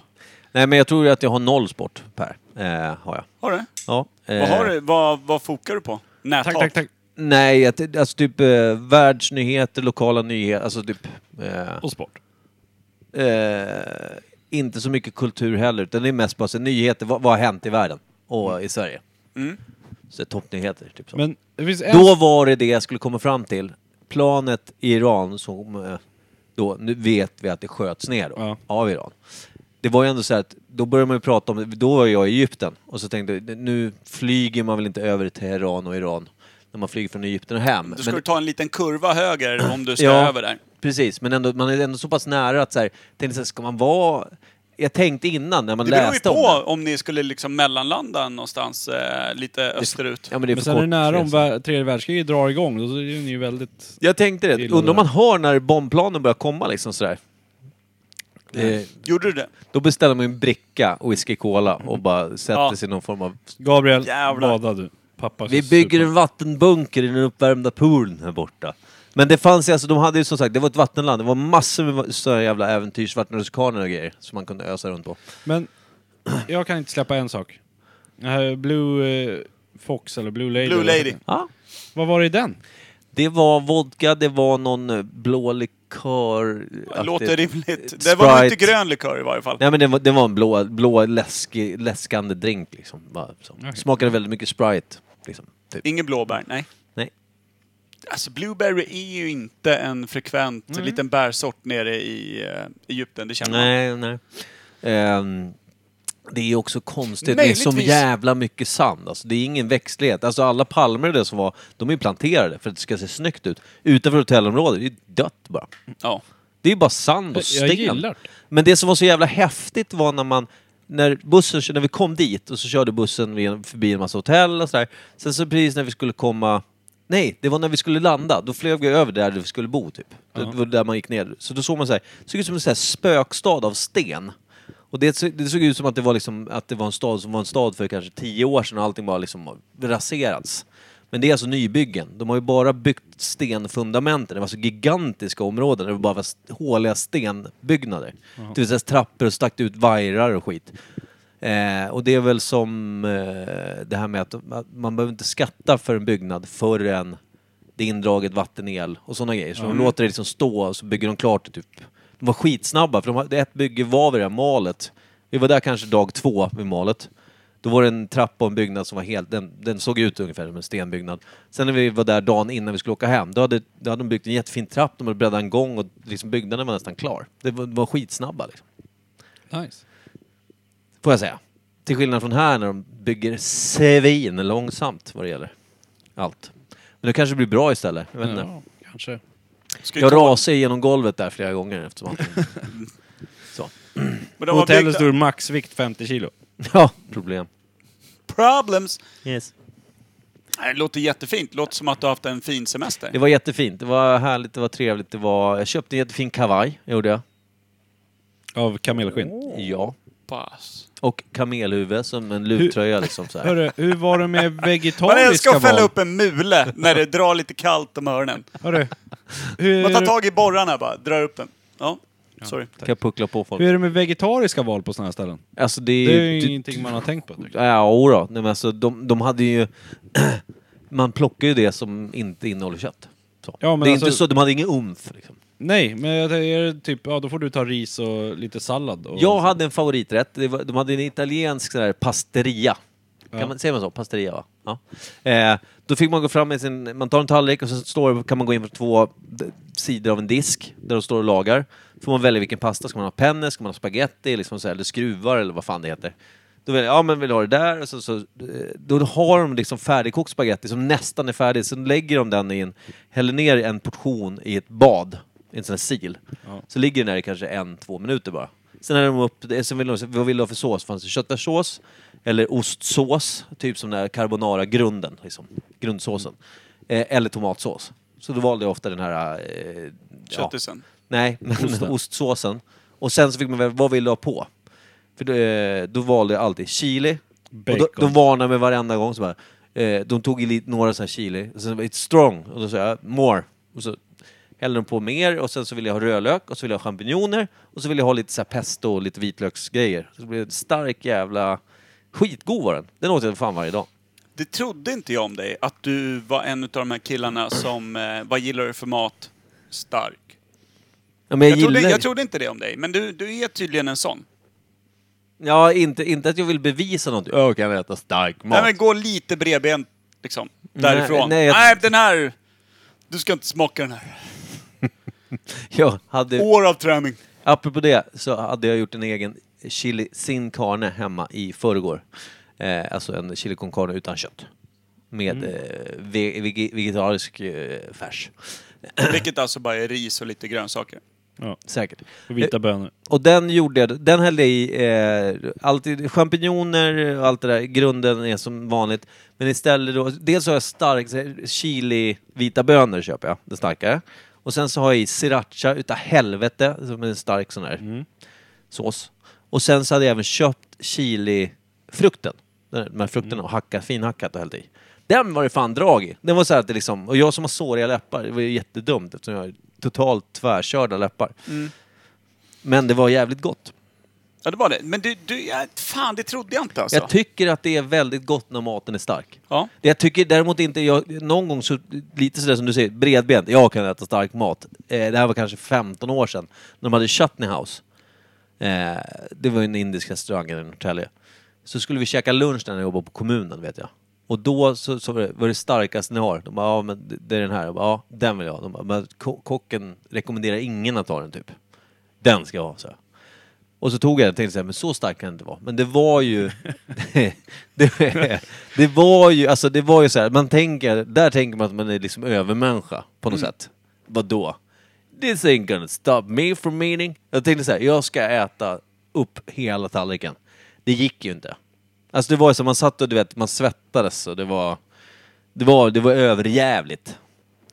Nej, men jag tror att jag har noll sport, Per. Eh, har jag. Har du? Ja, eh, Vad, har du? Vad, vad fokar du på? Näthat? Tack, tack, tack. Nej, att- alltså typ eh, världsnyheter, lokala nyheter, alltså typ... Eh, Och sport. eh, inte så mycket kultur heller, utan det är mest bara så, nyheter, vad, vad har hänt i världen och i Sverige? Mm. Så toppnyheter, typ så. Men det finns en... Då var det det jag skulle komma fram till. Planet i Iran som... eh, Då, nu vet vi att det sköts ner då, Ja. av Iran. Det var ju ändå så här att, då började man ju prata om, då var jag i Egypten och så tänkte jag, nu flyger man väl inte över till Teheran och Iran när man flyger från Egypten och hem. Då ska Men- du ta en liten kurva höger om du ska över där. Precis, men ändå, man är ändå så pass nära att så här, tänkte, så här, ska man vara... Jag tänkte innan när man Det beror ju läste på om det. om, ni skulle liksom mellanlanda någonstans eh, lite österut. Ja, men det är Men för sen är det kort nära om resa. vär- tredje världskriget drar igång, då är ni ju väldigt... Jag tänkte det. Gillar Undrar om man har när bombplanen börjar komma liksom sådär. Eh, Gjorde du det? då beställer man ju en bricka whisky cola och bara sätter Ja. sig i någon form av... Gabriel, Jävlar. bada du. Pappa ska Vi bygger supa. en vattenbunker i den uppvärmda poolen här borta. Men det fanns ju, alltså de hade ju som sagt, det var ett vattenland. Det var massor med sådana jävla äventyrsvattenrutschkanor och grejer som man kunde ösa runt på. Men jag kan inte släppa en sak. Den här Blue eh, Fox eller Blue Lady. Blue eller vad heter Lady. den? Ja, Vad var det i den? Det var vodka, det var någon eh, blå likör... Låter att det- rimligt. Det var nog inte Sprite. grön likör i varje fall. Nej men det var, det var en blå, blå läskig, läskande drink liksom. Bara, så. Smakade väldigt mycket Sprite. Liksom, typ. Ingen blåbär, nej. Nej. Alltså Blueberry är ju inte en frekvent Mm. liten bärsort nere i eh, Egypten, det känner man. Nej, nej. Ehm, det är också konstigt, det är så Möjligtvis. jävla mycket sand. Alltså, det är ingen växtlighet. Alltså alla palmer och det som var, de är ju planterade för att det ska se snyggt ut. Utanför hotellområdet, det är ju dött bara. Ja. Det är bara sand och Jag- sten. jag gillar det. Men det som var så jävla häftigt var när man när bussen, när vi kom dit och så körde bussen vid- förbi en massa hotell och sådär. Sen så precis när vi skulle komma... Nej, det var när vi skulle landa. Då flög vi över där vi skulle bo typ. Det var där man gick ner. Så då såg man så här, det såg ut som en så här spökstad av sten. Och det, så- det såg ut som att det var liksom, att det var en stad som var en stad för kanske tio år sedan och allting bara liksom har raserats. Men det är alltså nybyggen. De har ju bara byggt stenfundamenten. Det var så gigantiska områden där det bara var st- håliga stenbyggnader. Det vill säga trappor och stack ut vajrar och skit. Eh, och det är väl som eh, det här med att att man behöver inte skatta för en byggnad förrän det är indraget vattenel och sådana grejer. Så de låter det liksom stå och så bygger de klart det typ. De var skitsnabba för de hade, ett bygge var vid det här malet. Vi var där kanske dag två vid malet. Då var det en trappa och en byggnad som var helt, den, den såg ut ungefär som en stenbyggnad. Sen när vi var där dagen innan vi skulle åka hem, då hade, då hade de byggt en jättefin trapp, de hade breddat en gång och liksom byggnaden var nästan klar. Det var, var skitsnabba liksom. Nice. Får jag säga. Till skillnad från här när de bygger svin långsamt vad det gäller allt. Men det kanske blir bra istället. Jag, vet inte. Ja, kanske. Ska ju jag tå- rasade genom golvet där flera gånger eftersom att... Så. Men På de har hotellet byggt stod maxvikt 50 kilo. Ja, problem. problems. Yes. Nej, Det låter jättefint. Det låter som att du har haft en fin semester. Det var jättefint. Det var härligt, det var trevligt. Det var... Jag köpte en jättefin kavaj, gjorde jag. Av kamelskinn. Ja. Pass. Och kamelhuvud som en luvtröja liksom så här. Hörru, hur var det med Man vegetariska älskar val? att fälla upp en mule när det drar lite kallt om öronen. Hörru, hur, Man tar tag i borrarna bara, drar upp den. Ja, sorry. Kan jag puckla på hur folk. är det med vegetariska val på sådana här ställen? Alltså det är Det är ju du- ingenting man har tänkt på. direkt. Ja, jodå. Nej, men alltså, de, de hade ju... man plockar ju det som inte innehåller kött. Så. Ja, men det är alltså- inte så, de hade ingen umf. Liksom. Nej, men jag tänker typ, ja då får du ta ris och lite sallad. Och... Jag hade en favoriträtt. Det var, de hade en italiensk sån här pasteria. Ja. Kan man, säger man så? Pasteria, va? Ja. Eh, då fick man gå fram med sin... Man tar en tallrik och så står, kan man gå in på två d- sidor av en disk där de står och lagar. får man välja vilken pasta. Ska man ha penne, ska man ha spaghetti, liksom så här, eller skruvar eller vad fan det heter. Då väljer jag, ja men vill ha det där. Och så, så, eh, då har de liksom färdigkokt spaghetti som nästan är färdig. Sen lägger de den i en... Häller ner en portion i ett bad, i en sån här sil. Så ligger den där i kanske en, två minuter bara. Sen är de upp, det- sen vill de, vad vill du ha för sås? Fanns det köttfärssås? Eller ostsås? Typ som den här carbonara-grunden, liksom. Grundsåsen. Eh, eller tomatsås. Så då valde jag ofta den här... Eh, ja. Köttisen. Nej, men ostsåsen. Och sen så fick man välja, vad vill du ha på? För då, eh, då valde jag alltid chili. Och då, Bacon. de varnade mig varenda gång. Så bara, eh, de tog i lite, några så här chili, och sen var det, it's strong, och då sa jag more. Och så hällde de på mer, och sen så ville jag ha rödlök, och så ville jag ha champinjoner, och så ville jag ha lite så här pesto och lite vitlöksgrejer. Så det blev en stark jävla... Skitgod var den. Den åt jag fan varje dag. Det trodde inte jag om dig, att du var en av de här killarna som, eh, vad gillar du för mat? Stark. Ja, men jag, Jag trodde, gillar jag trodde inte det om dig, men du, du är tydligen en sån. Ja, inte, inte att jag vill bevisa något. Jag kan äta stark mat. Nej men gå lite bredbent, liksom. Därifrån. nej, Nej, jag- den här! Du ska inte smaka den här. Jag hade... År av träning. Apropå det så hade jag gjort en egen chili sin carne hemma i förrgår. Eh, alltså en chili con carne utan kött. Med Mm. eh, ve- vege- vegetarisk eh, färs. Vilket alltså bara är ris och lite grönsaker. Ja, Säkert. och vita bönor. Och den gjorde jag, den hällde jag i, eh, alltid champinjoner och allt det där, grunden är som vanligt. Men istället då, dels har jag stark så här, chili, vita bönor köper jag, det starkare. Och sen så har jag i sriracha utav helvete, som är en stark sån här sås. Och sen så hade jag även köpt chilifrukten, den- de här frukterna och hackat, finhackat och hällt i. Den var det fan drag i. Den var så här att det liksom, och jag som har såriga läppar, det var ju jättedumt eftersom jag har totalt tvärkörda läppar. Men det var jävligt gott. Ja, det var det. Men du, du ja, fan det trodde jag inte alltså. Jag tycker att det är väldigt gott när maten är stark. ja. Det jag tycker däremot inte, jag, någon gång så, lite sådär som du säger, bredbent, jag kan äta stark mat. Eh, det här var kanske 15 år sedan, när de hade Chutney House. Eh, det var ju en indisk restaurang i Norrtälje. Så skulle vi käka lunch där när jag jobbade på kommunen, vet jag. Och då så, så var, det, var det starkaste ni har. De bara, ja men det- det är den här. Jag bara, ja den vill jag ha. De bara, men ko- kocken rekommenderar ingen att ta den typ. Den ska jag ha, så. Och så tog jag den och tänkte så här, men så stark kan den inte vara. Men det var ju... det, det var ju, alltså det var ju så här, man tänker, där tänker man att man är liksom övermänniska på något sätt. Vadå? This ain't gonna stop me from eating. Jag tänkte så här, jag ska äta upp hela tallriken. Det gick ju inte. Alltså det var ju så, man satt och du vet, man svettades och det var... Det var, det var överjävligt.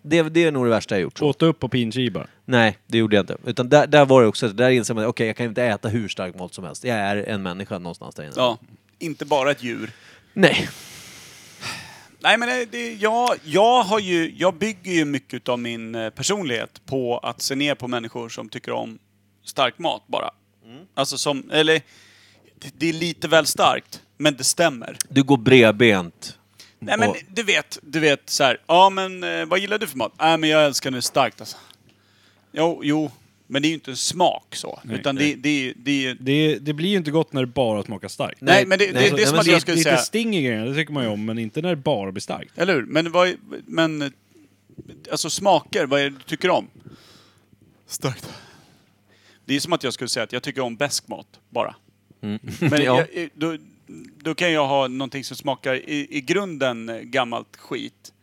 Det, det är nog det värsta jag gjort. Åt upp på pinchi bara. Nej, det gjorde jag inte. Utan där, där var det också, där inser man okej, jag kan inte äta hur stark mat som helst. Jag är en människa någonstans där inne. ja. Inte bara ett djur. Nej. Nej, men det- det, jag, jag, har ju, jag bygger ju mycket av min eh, personlighet på att se ner på människor som tycker om stark mat bara. Alltså som, eller, det, det är lite väl starkt, men det stämmer. Du går bredbent. Nej men Och- du vet, du vet så här. ja men eh, vad gillar du för mat? Nej men jag älskar det starkt alltså. Jo, jo, men det är ju inte en smak så. utan det, det, är ju- det är ju... Nej, Det, det blir ju inte gott när det bara smakar starkt. Nej, men det, det, nej, Alltså, det är nej, som men att det- jag skulle Lite säga... sting i grejerna, det tycker man ju om, men inte när det bara blir starkt. Eller hur? Men vad... är- Men... eh, Alltså smaker, vad är det du tycker om? Starkt. Det är som att jag skulle säga att jag tycker om besk mat, bara. Men Mm. Ja. jag, då, då kan jag ha någonting som smakar i, i grunden eh, gammalt skit.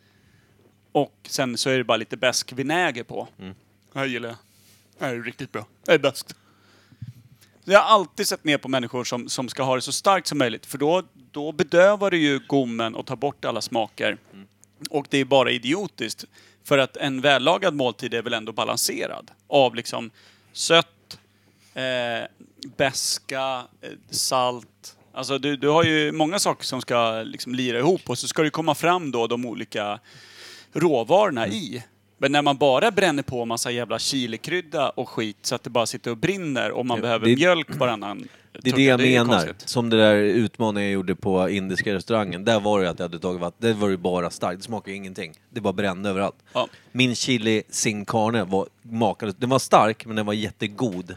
Och sen så är det bara lite besk vinäger på. Mm. Det här gillar jag. Det här är riktigt bra. Det här är bäst. Jag har alltid sett ner på människor som, som ska ha det så starkt som möjligt. För då, då bedövar du ju gommen och tar bort alla smaker. Och det är bara idiotiskt. För att en vällagad måltid är väl ändå balanserad. Av liksom sött, eh, beska, eh, salt. Alltså du, du har ju många saker som Mm. ska liksom lira ihop och så ska det komma fram då de olika råvarorna i. Men när man bara bränner på massa jävla chilikrydda och skit så att det bara sitter och brinner och man Ja, behöver det- mjölk varannan Det är tugga, det jag ju menar. konstigt. Som det där utmaningen jag gjorde på indiska restaurangen. Där var det ju att jag hade tagit vatten. Det var ju bara starkt. Det smakade ju ingenting. Det bara brände överallt. Ja. Min chili sin carne var makalös. Den var stark, men den var jättegod.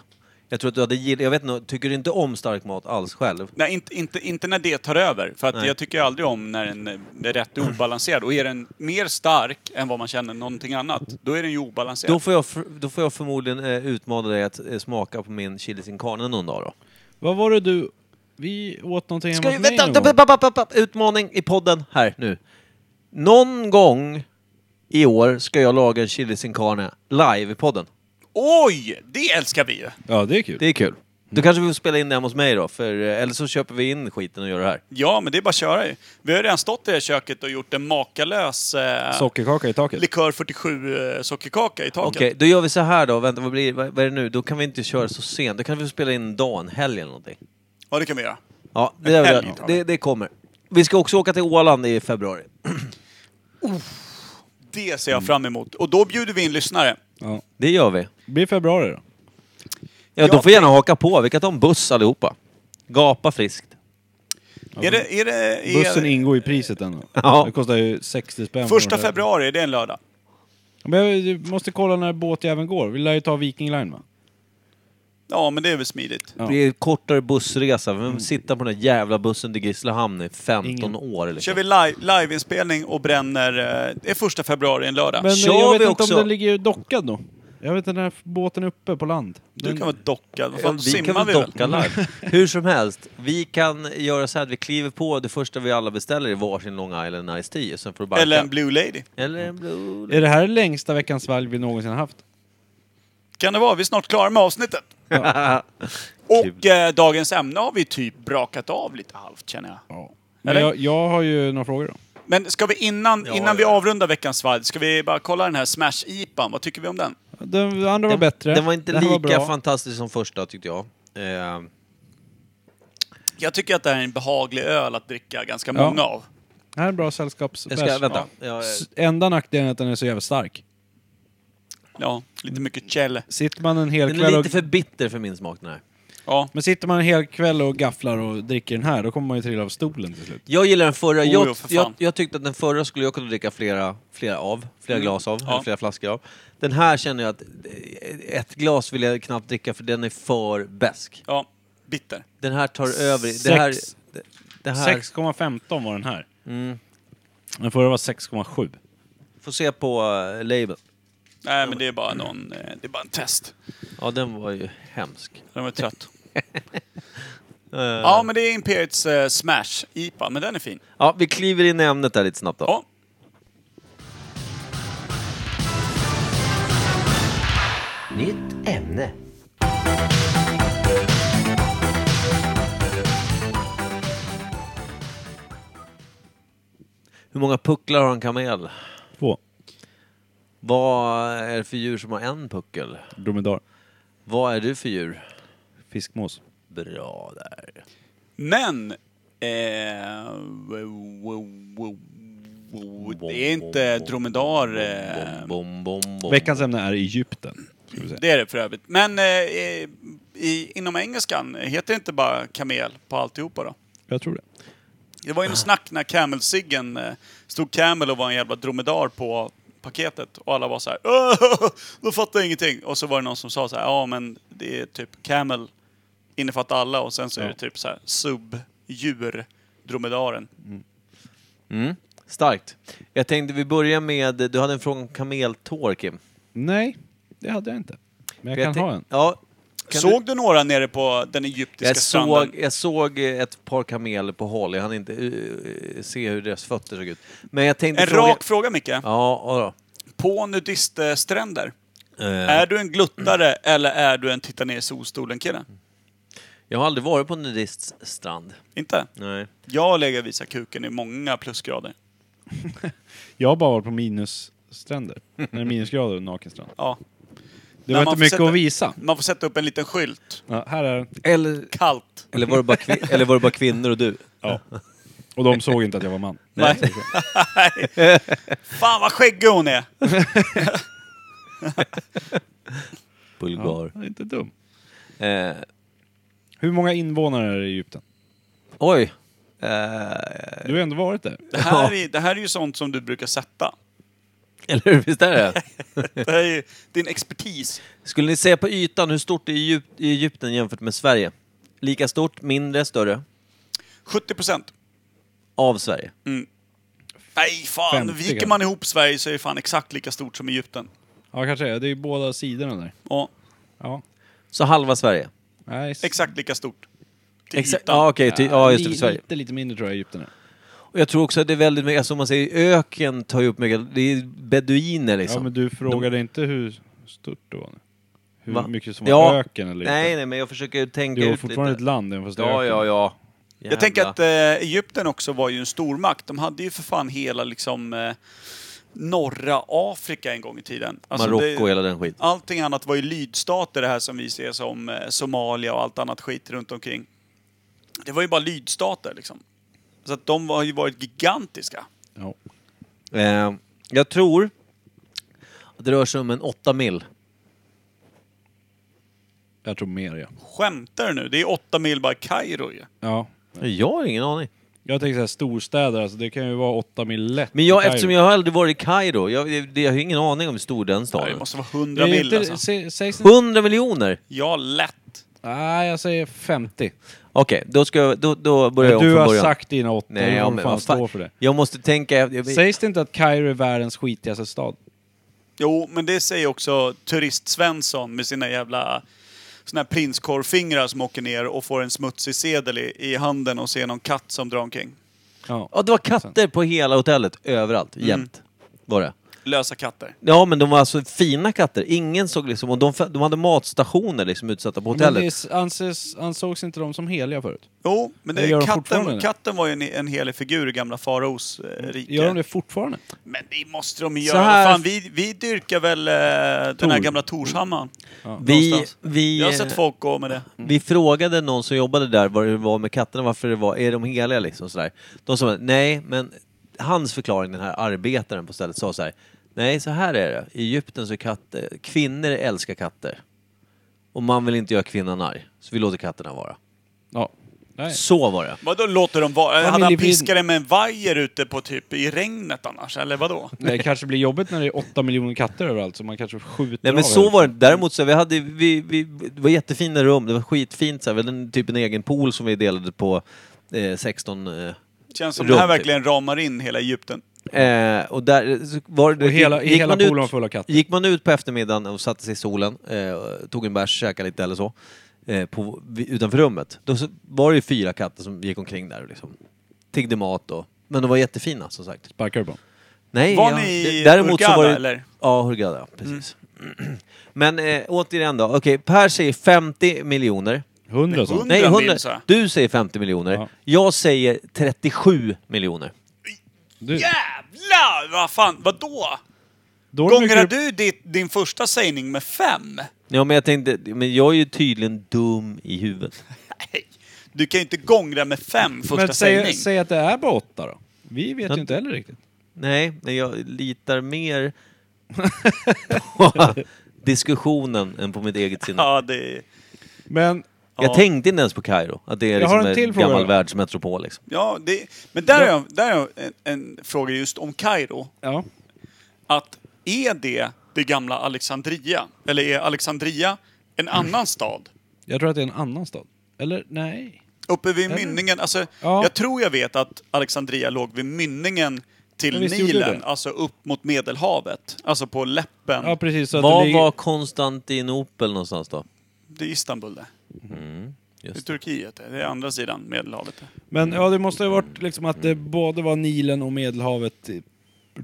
Jag tror att du hade gillat... Jag vet inte, tycker du inte om stark mat alls själv? Nej, inte, inte, inte när det tar över. För att Nej. jag tycker aldrig om när den är rätt obalanserad. Och är den mer stark än vad man känner någonting annat, då är den ju obalanserad. Då får jag, för, då får jag förmodligen eh, utmana dig att eh, smaka på min chili sin carne någon dag då. Vad var det du... Vi åt någonting Ska hemma ju, hos mig vänta, någon vänta, gång. vänta, vänta, vänta, utmaning i podden här nu. Någon gång i år ska jag laga en chili sin carne live i podden. Oj! Det älskar vi ju! Ja, det är kul. Det är kul. Då kanske vi får spela in det hemma hos mig då, för, eh, eller så köper vi in skiten och gör det här. Ja, men det är bara att köra ju. Vi har redan stått i det här köket och gjort en makalös eh, Sockerkaka i taket. likör 47 eh, sockerkaka i taket. Okej, då gör vi så här då. Vänta, vad, blir, vad, vad är det nu? Då kan vi inte köra så sent. Då kan vi spela in en dag, en helg eller någonting. Ja, det kan vi göra. Ja, det, där, helg tar vi. det, det kommer. Vi ska också åka till Åland i februari. Det ser jag fram emot. Och då bjuder vi in lyssnare. Ja. Det gör vi. Det blir februari då. Ja, de får gärna haka på. Vi kan ta en buss allihopa. Gapa friskt. Är det, är det, är Bussen ingår i priset ändå. Ja. Det kostar ju 60 spänn. på Första den där. februari, är det är en lördag. Men jag du måste kolla när båtjäveln går. Vi lär ju ta Viking Line va? Ja, Mm. men det är väl smidigt. Ja. Det är kortare bussresa. Vem sitter på den där jävla bussen till Grisslehamn i 15 Ingen. år? Liksom. Kör vi live, liveinspelning och bränner... eh, Det är första februari, en lördag. Men eh, Kör jag vi vet inte också? om den ligger dockad då. Jag vet inte när båten är uppe på land. Du Den- kan vara dockad. Vad Ja, fan, vi simmar kan vi väl väl? docka live. Hur som helst, vi kan göra så här att vi kliver på det första vi alla beställer i varsin Long Island Ice Tea. Sen får du bara Eller en Blue Lady. Eller en blue... Är det här längsta veckans valg vi någonsin har haft? Kan det vara? Vi är snart klara med avsnittet. Och eh, dagens ämne har vi typ brakat av lite halvt, känner jag. Ja. Men Eller? jag, jag har ju några frågor då. Men ska vi innan, Ja, innan vi ja. avrundar veckans svalg, ska vi bara kolla den här Smash-IPan? Vad tycker vi om den? Den andra var bättre. Den var inte Den här lika bra. fantastisk som första tyckte jag. Eh, Jag tycker att det här är en behaglig öl att dricka ganska Ja. många av. Den här är en bra sällskaps... jag ska, vänta. Jag, S- Enda nackdelen är att den är så jävla stark. Ja, lite mycket käll. Sitter man en hel den är kväll och... lite för bitter för min smak den här. Ja. Men sitter man en hel kväll och gafflar och dricker den här, då kommer man ju trilla av stolen till slut. Jag gillar den förra. Oj, jag, ja, Oh, för fan. jag, jag tyckte att den förra skulle jag kunna dricka flera, flera av. Flera glas av. Mm. Ja. Eller flera flaskor av. Den här känner jag att eh, ett glas vill jag knappt dricka för den är för besk. Ja, bitter. Den här tar över. Sex. Det här, det, det här Mm. 6,15 var den här. Den förra var 6,7. Får se på uh, label. Nej, men det är bara någon... eh, Det är bara en test. Ja, den var ju hemsk. Den var trött. ja, men det är Imperiets eh, Smash-IPA, men den är fin. Ja, vi kliver in i ämnet där lite snabbt då. Ja. Nytt ämne. Hur många pucklar har en kamel? Två. Vad är det för djur som har en puckel? Dromedar. Vad är du för djur? Fiskmås. Bra där. Men... Eh, wo- wo- wo- wo- det är inte dromedar... Eh, Bom, bom, bom. Veckans ämne är Egypten. Ska vi säga. det är det för övrigt. Men eh, i- i, inom engelskan heter det inte bara kamel på alltihopa då? Jag tror det. Det var ju en snack när Camel-ciggen eh, stod Camel och var en jävla dromedar på paketet och alla var så här "Åh, då fattar jag ingenting. Och så var det någon som sa så här, ja men det är typ Camel innefattar alla och sen så är det typ så här subdjur dromedaren. Mm. Starkt. Jag tänkte vi börjar med, du hade en fråga om kameltår Kim. Nej, det hade jag inte. Men jag För kan tänk- ha en. Ja. Kan Såg du några nere på den egyptiska jag stranden? såg, jag såg ett par kameler på håll, jag hann inte eh, se hur deras fötter såg ut. Men jag tänkte En fråga... rak fråga Micke. Ja, ja På nudiststränder, då. Eh, är du en gluttare eller är du en titta ner i solstolen-kille? Mm. Jag har aldrig varit på en nudiststrand. Inte? Nej. Jag lägger visa kuken i många plusgrader. Jag har bara varit på minusstränder. När det är minusgrader och nakenstrand. Ja. Det När var man inte får mycket sätta- att visa. Man får sätta upp en liten skylt. Ja, här är den. Eller, Kallt. eller, var det bara kvin- eller var det bara kvinnor och du? Ja. Och de såg inte att jag var man. Nej. Fan vad skäggig hon är! Bulgar. Ja, det är inte dum. Eh, Hur många invånare är det i Egypten? oj. Eh, Du har ändå varit där. Det här, är, det här är ju sånt som du brukar sätta. eller hur? Visst är det? Det här är ju din expertis. Skulle ni se på ytan hur stort det är i Egyp- i Egypten jämfört med Sverige? Lika stort, mindre, större? 70 procent. Av Sverige. Nej, fan. 50 Viker kanske. man ihop Sverige så är det fan exakt lika stort som Egypten. Ja, kanske det. Det är ju båda sidorna där. Ja, Ja. Så halva Sverige? Nej, s- exakt lika stort. Till Exa- ytan. ja, okej. ty- ja, just det, för li- Sverige. Lite, lite mindre tror jag Egypten är. Och jag tror också att det är väldigt mycket, alltså om man säger öken tar ju upp mycket, det är beduiner liksom. Ja, men du frågade inte hur stort det var nu? Hur Va? mycket som var Ja. öken eller Nej, inte. nej, men jag försöker tänka Det var ut fortfarande ett lite. land även fast det är Ja, öken. ja, ja. Jag tänker att eh, Egypten också var ju en stormakt. De hade ju för fan hela liksom eh, norra Afrika en gång i tiden. Alltså, Marocko och det, hela den skiten. Allting annat var ju lydstater det här som vi ser som eh, Somalia och allt annat skit runt omkring. Det var ju bara lydstater liksom. Så att de har ju varit gigantiska. ja. Eh, jag tror att det rör sig om en åtta mil. Jag tror mer ja. Skämtar du nu? Det är åtta mil bara Kairo ju. Ja. Jag har ingen aning. Jag tänker såhär storstäder, alltså det kan ju vara åtta mil lätt. Men jag, i Kairo. eftersom jag har aldrig varit i Kairo, jag, det- det- jag har ingen aning om hur stor den Det staden är. måste vara hundra Det är mil inte, alltså. se, sägs inte... 100 miljoner! Ja, lätt. Nej, jag säger 50. Okej, då, ska jag, då, då börjar jag om du från har början. sagt dina åtta, Nej, du ja, får men fan vad fan. stå för det. Jag måste tänka... Jag, jag, Sägs det inte att Kairo är världens skitigaste stad? Jo, men det säger också turist-Svensson med sina jävla såna här prinskorvfingrar som åker ner och får en smutsig sedel i, i handen och ser någon katt som drar omkring. Ja. Ja, det var katter på hela hotellet, överallt, Mm. jämt. Var det. Lösa katter. Ja, men de var alltså fina katter. Ingen såg liksom... Och de, de hade matstationer liksom utsatta på Men hotellet. det s- anses, ansågs inte de som heliga förut? Jo, men det, Det gör de fortfarande, katten, eller? katten var ju en, en helig figur i gamla faraos eh, rike. Gör de det fortfarande? Men det måste de ju Så göra. här- Fan, vi, vi dyrkar väl eh, den här Tor. gamla Torshammaren. vi, någonstans. vi, Jag har sett folk gå med det. vi frågade någon som jobbade där vad det var med katterna, varför det var, är de heliga liksom sådär. De sa nej, men hans förklaring, den här arbetaren på stället, sa så här. Nej, så här är det. I Egypten så är katter, kvinnor älskar katter. Och man vill inte göra kvinnan arg, så vi låter katterna vara. Ja. Nej. Så var det. Vadå låter de vara? Hade han Familjebild- piskat det med en vajer ute på typ i regnet annars, eller vadå? Det kanske blir jobbigt när det är åtta miljoner katter överallt, så man kanske skjuter Nej men av så hälften. var det Däremot så, vi hade, vi, vi, det var jättefina rum, det var skitfint så här, vi hade en, typ en egen pool som vi delade på eh, 16 eh, Känns som Runt, det här typ. verkligen ramar in hela Egypten. Eh, och där så var det... Och hela- hela man poolen var full av katter. Gick man ut på eftermiddagen och satte sig i solen, eh, tog en bärs, käkade lite eller så, eh, på, vi- utanför rummet, då så var det ju fyra katter som gick omkring där och liksom tiggde mat och... Men de var jättefina som sagt. Sparkar du på dem? Nej, Var ja, ni i d- däremot så var Hurghada, det, eller? Ja, Hurghada, precis. Mm. Men eh, återigen då, okej, Per säger 50 miljoner. Hundra så? hund- Nej, 100 100. mil, sa jag. Du säger 50 miljoner. Ja. Jag säger 37 miljoner. Du, Jävlar! Vad fan, vadå? då är det Gångerar mycket- du ditt, din första sägning med fem? Ja, men jag tänkte, men jag är ju tydligen dum i huvudet. Nej. Du kan ju inte gångra med fem första Men säg, sägning. säg att det är bara åtta då. Vi vet Men- ju inte heller riktigt. Nej, men jag litar mer på diskussionen än på mitt eget sinne. Ja, det... Men Jag tänkte inte ens på Kairo, att det är Jag har liksom en en, till gammal fråga. världsmetropol. Liksom. Ja, det... Men där har jag, där har jag en, en fråga just om Kairo. Ja. Att är det det gamla Alexandria? Eller är Alexandria en Mm. annan stad? Jag tror att det är en annan stad. Eller nej. Uppe vid Eller- mynningen, alltså, Ja. jag tror jag vet att Alexandria låg vid mynningen till Ja, visst gjorde Nilen, det. alltså upp mot Medelhavet. Alltså på läppen. Ja precis. Så att det Var ligger- var Konstantinopel någonstans då? Det är Istanbul det. Det är Mm-hmm. Just. Turkiet det. Det är andra sidan Medelhavet. det. Men ja, det måste ju ha varit liksom att det både var Nilen och Medelhavet i-